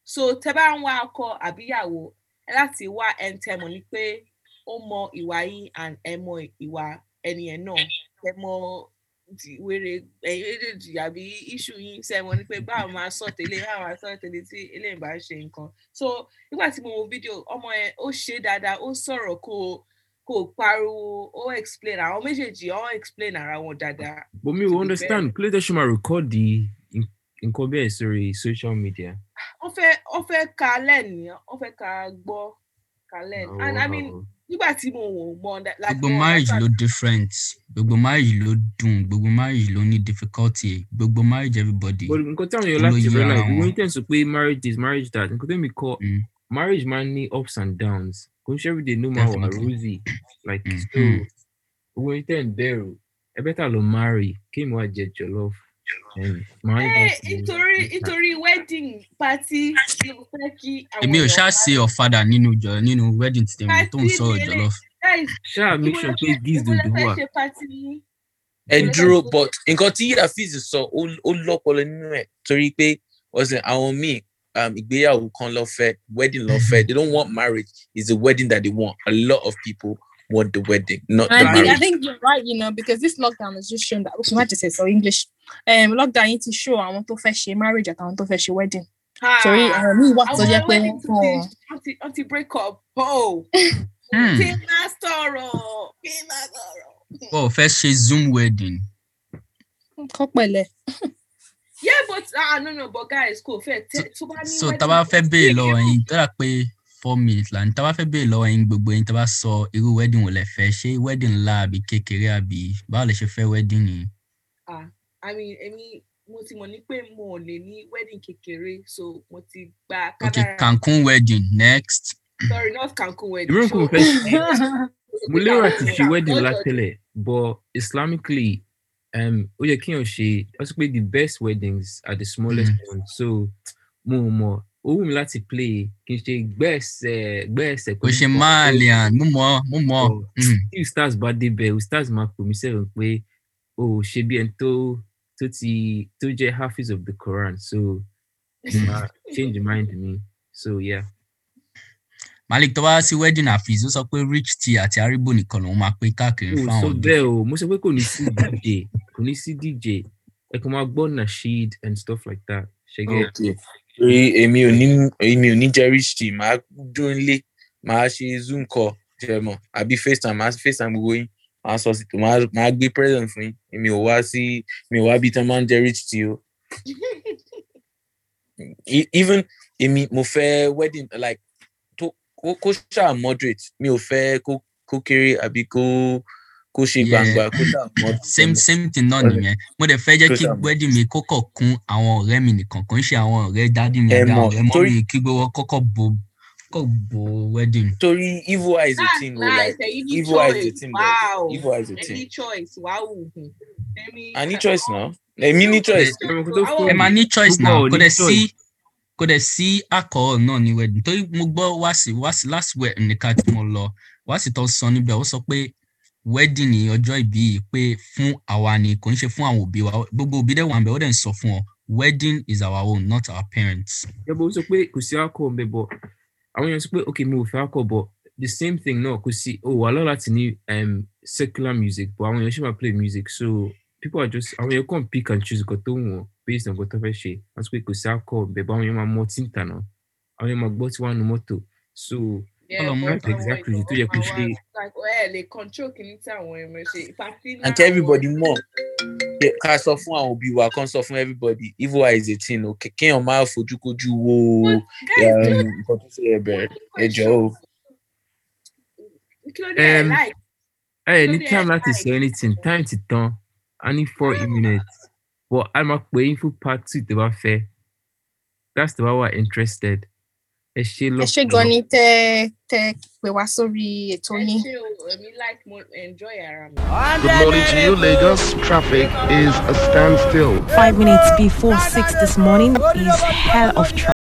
Speaker 5: so tẹ bá ń wá ọkọ àbíyàwó ẹ láti wá ẹn tẹ mọ̀ ní pé ó mọ ìwà yín and ẹ mọ ìwà ẹni yẹn náà ẹ mọ di- wèrè ẹyin méjèèjì àbí iṣu yín ṣe mọ ní pé báwo máa sọ tẹ́lẹ̀ báwo máa sọ tẹ́lẹ̀ tí eléyìí bá ṣe nǹkan so nígbà tí mo wo fídíò ọmọ yẹn ó ṣe dáadáa ó sọ̀rọ̀ kó kó pariwo ó explain àwọn méjèèjì ó explain ara wọn dáadáa.
Speaker 3: but mi
Speaker 5: to
Speaker 3: ò
Speaker 5: be
Speaker 3: understand kí ló dé ṣe máa record di in- nǹkan bẹ́ẹ̀ sórí social media
Speaker 5: wọ́n fẹ́ wọ́n fẹ́ ka lẹ́ẹ̀ni wọ́n fẹ́ ka gbọ́ ka lẹ́ẹ̀ni and i mean
Speaker 3: Wow.
Speaker 5: nígbà tí mo wò mọ ọ̀dà like
Speaker 6: Oh, gbogbo
Speaker 5: mo
Speaker 6: marriage
Speaker 5: understand-
Speaker 6: ló different gbogbo marriage ló dùn gbogbo marriage ló ní difficulty gbogbo marriage everybody
Speaker 3: but nǹkan táwọn èèyàn
Speaker 6: Ló
Speaker 3: láti
Speaker 6: yí ara
Speaker 3: realize
Speaker 6: wọn.
Speaker 3: wọ́n tẹ̀ sọ pé marriage this marriage that nǹkan tẹ̀mí kọ́
Speaker 6: Mm.
Speaker 3: marriage máa ń ní ups and downs kò ń ṣe everyday no máa wà
Speaker 6: Definitely.
Speaker 3: rosy like
Speaker 6: Mhm.
Speaker 3: so owó yín tẹ̀ ń bẹ̀rù ẹ bẹ́tà lọ marry kí èmi wá jẹ jollof ẹ̀yìn máa ń
Speaker 5: Eh, nítorí nítorí wedding party ni mo fẹ́ kí àwọn
Speaker 6: èmi ò ṣáà ṣe ọ̀fadà nínú jọ nínú wedding ti tèmi tó ń
Speaker 5: Party
Speaker 6: sọ̀rọ̀
Speaker 5: ni
Speaker 6: jọlọ
Speaker 5: guys
Speaker 3: ṣáà make
Speaker 5: ìwọ
Speaker 3: sure
Speaker 5: ló
Speaker 3: pé
Speaker 5: fẹ́-
Speaker 3: this
Speaker 5: ìwọ ló
Speaker 3: dodo
Speaker 5: fẹ́
Speaker 3: wà
Speaker 5: ṣe party yín.
Speaker 7: ẹ
Speaker 5: Ìwọ ló fẹ́
Speaker 7: dúró
Speaker 5: ṣe-
Speaker 7: but nǹkan tí afeez sọ ó ó lọpọlọ nínú ẹ torí pé ọsẹ àwọn míì um, ìgbéyàwó kan lọ fẹ wedding lọ fẹ they don't want marriage it's the wedding that they want a lot of people want the wedding not the
Speaker 4: I think, I
Speaker 7: marriage.
Speaker 4: think you're right, you know, because this lockdown has just shown that. Okay, what is it? So English. Um, lockdown yìí ti show àwọn tó fẹ́ ṣe marriage àtàwọn tó fẹ́ ṣe wedding. Torí
Speaker 5: Ah,
Speaker 4: ọ̀rọ̀ uh, mi wà tó
Speaker 5: àwọn
Speaker 4: jẹ́ pé
Speaker 5: wedding
Speaker 4: wọ́n
Speaker 5: ti- wọ́n ti- wọ́n ti break up oh kí n máa sọ̀rọ̀ kí n máa sọ̀rọ̀.
Speaker 6: wọn ò fẹ́ ṣe zoom wedding
Speaker 4: kọ́ pẹ̀lẹ́.
Speaker 5: yeah but ah no no but guys kò fẹ́ tẹ- tó bá ní
Speaker 6: so
Speaker 5: wedding
Speaker 6: tá bá fẹ́
Speaker 5: party-
Speaker 6: béèrè lọ́wọ́ yín tó dà pé four minutes là ní tá bá fẹ́ béèrè lọ́wọ́ yín gbogbo yín tá bá sọ irú wedding wo lẹ fẹ́ ṣé wedding ńlá àbí kékeré àbí báwo lẹ ṣe fẹ́ wedding yìí.
Speaker 5: ah i mean èmi mo ti mọ̀ ní pé mo ò lè ní wedding kékeré so mo ti gba
Speaker 6: okay
Speaker 5: kádàrá
Speaker 6: cancun wedding next
Speaker 5: sorry not Cancun wedding.
Speaker 3: irú nǹkan mo
Speaker 5: so-
Speaker 3: fẹ́ ṣe
Speaker 5: so
Speaker 3: mo lérò àti ṣe
Speaker 5: Cancun,
Speaker 3: wedding
Speaker 5: not
Speaker 3: látẹlẹ but islamically um, ó yẹ kéèyàn ṣe ó sọ pé the best weddings are the smallest mm. ones so mo ò mọ ó wù mí láti play kí n ṣe gbẹ́ẹ̀sẹ̀ gbẹ́ẹ̀sẹ̀
Speaker 6: kò ṣe máa lè hàn mú mọ́ mú mọ́
Speaker 3: Oh. tí stars bá débẹ̀ o stars máa pè mí sẹ́yìn pé o ò ṣe bí ẹni tó tó ti tó jẹ́ hafiz of the Quran so mo máa change mind mi so yeah.
Speaker 6: malik tó bá wá sí wedding àfíìs ó sọ pé rich tea àti aribo nìkan lòun máa pín káàkiri
Speaker 3: o sọ
Speaker 6: fáwọn ọdún
Speaker 3: bẹ́ẹ̀ o mo sọ pé kò ní sí dj kò ní sí dj ẹ kò máa gbọ́ nasheed and stuff like that ṣẹgẹ
Speaker 7: Okay. torí èmi ò ní èmi ò ní jẹ rich tea màá dún lé màá ṣe zoom call ṣe mọ àbí facetime màá facetime gbogbo yín màá sọ sí màá màá gbé present fún yín èmi ò wá sí mi ò wá bí tán máa ń jẹ rich tea o. E- even èmi mo fẹ́ wedding like tó kó kó ṣáà moderate mi ò fẹ́ kó kó kéré àbí kó kó ṣe
Speaker 6: Yeah.
Speaker 7: gbangba kó ṣàmọ́
Speaker 6: same same thing náà nìyẹn mo dẹ̀ fẹ́ jẹ́ kí
Speaker 7: Social media.
Speaker 6: wedding mi kọ́kọ́ kún àwọn ọ̀rẹ́ mi nìkan kò ń ṣe àwọn ọ̀rẹ́ dádì mi
Speaker 7: Ẹ
Speaker 6: àbí
Speaker 7: mọ̀,
Speaker 6: àwọn ọ̀rẹ́ mọ́
Speaker 7: torí-
Speaker 6: mi kí gbowó kọ́kọ́ bo kọ́kọ́ bo wedding.
Speaker 7: torí evil eye is a
Speaker 5: That's
Speaker 7: thing o
Speaker 5: nice.
Speaker 7: like
Speaker 5: eh, you need
Speaker 7: evil eye is a
Speaker 5: choice.
Speaker 7: thing
Speaker 5: Wow.
Speaker 7: but evil eye is a
Speaker 5: Any
Speaker 7: thing
Speaker 5: choice. Wow. Any
Speaker 7: i need choice now èmi ní choice
Speaker 6: ẹ máa ní choice
Speaker 3: Gbogbo
Speaker 6: náà
Speaker 3: ò
Speaker 6: kò
Speaker 3: ní
Speaker 6: dẹ̀ sí
Speaker 3: choice.
Speaker 6: kò dẹ̀ sí alcohol náà ní wedding torí mo gbọ́ wáàsí wáàsí last week nìkan tí mo lọ wáàsí tó sọ níbẹ̀ ó sọ pé wedding ní ọjọ́ ìbí yìí pé fún àwa ni kò ń ṣe fún àwọn òbí wa gbogbo òbí dẹ̀ wà ń bẹ̀ ó dẹ̀ ń sọ fún ọ wedding is our own not our parents.
Speaker 3: yẹ bó sọ pé kò sí alcohol mbẹ bọ àwọn èèyàn sọ pé ok mo ò fẹ alcohol bọ the same thing náà kò sí o wà lọ́la ti ní um, secular music but àwọn èèyàn ṣe máa play music so people are just àwọn èèyàn kàn pick and choose nǹkan tó wù wọn based on nǹkan tó fẹ́ ṣe wọ́n sọ pé kò sí alcohol mbẹ bọ àwọn èèyàn máa mọ tí ń tànà àwọn èèyàn máa gbọ́ tí wọ́n á nu mọ́tò so exactly tó yẹ kó ṣe.
Speaker 5: They control kini ti àwọn ẹ̀mọ̀ ṣe. Ìpàtí
Speaker 7: and kí everybody mọ̀ pé ká sọ fún àwọn òbí wa kán sọ fún everybody evil eye is a thing o Kí- kéèyàn máa fojúkojú wo um, nǹkan tó ṣe ẹ̀bẹ̀rẹ̀ ẹ̀jọ̀ o.
Speaker 5: Kí ló dé ẹ̀
Speaker 3: Em,
Speaker 5: láì?
Speaker 3: ẹ ní
Speaker 5: Lórí
Speaker 3: time láti
Speaker 5: exercise.
Speaker 3: sọ anything time ti tán a ní four minutes but a máa pè é fún part two tó bá fẹ́ that's the one wà interested ẹ ṣe lọ.
Speaker 4: ẹ ṣe gan ni tẹ tẹ pè wá sórí ètò
Speaker 5: Ẹ
Speaker 4: yín
Speaker 5: ṣe o, èmi like mo enjoy ara mi.
Speaker 1: Good morning to you, Lagos. Traffic is a standstill.
Speaker 2: Five minutes before six this morning is hell of traffic.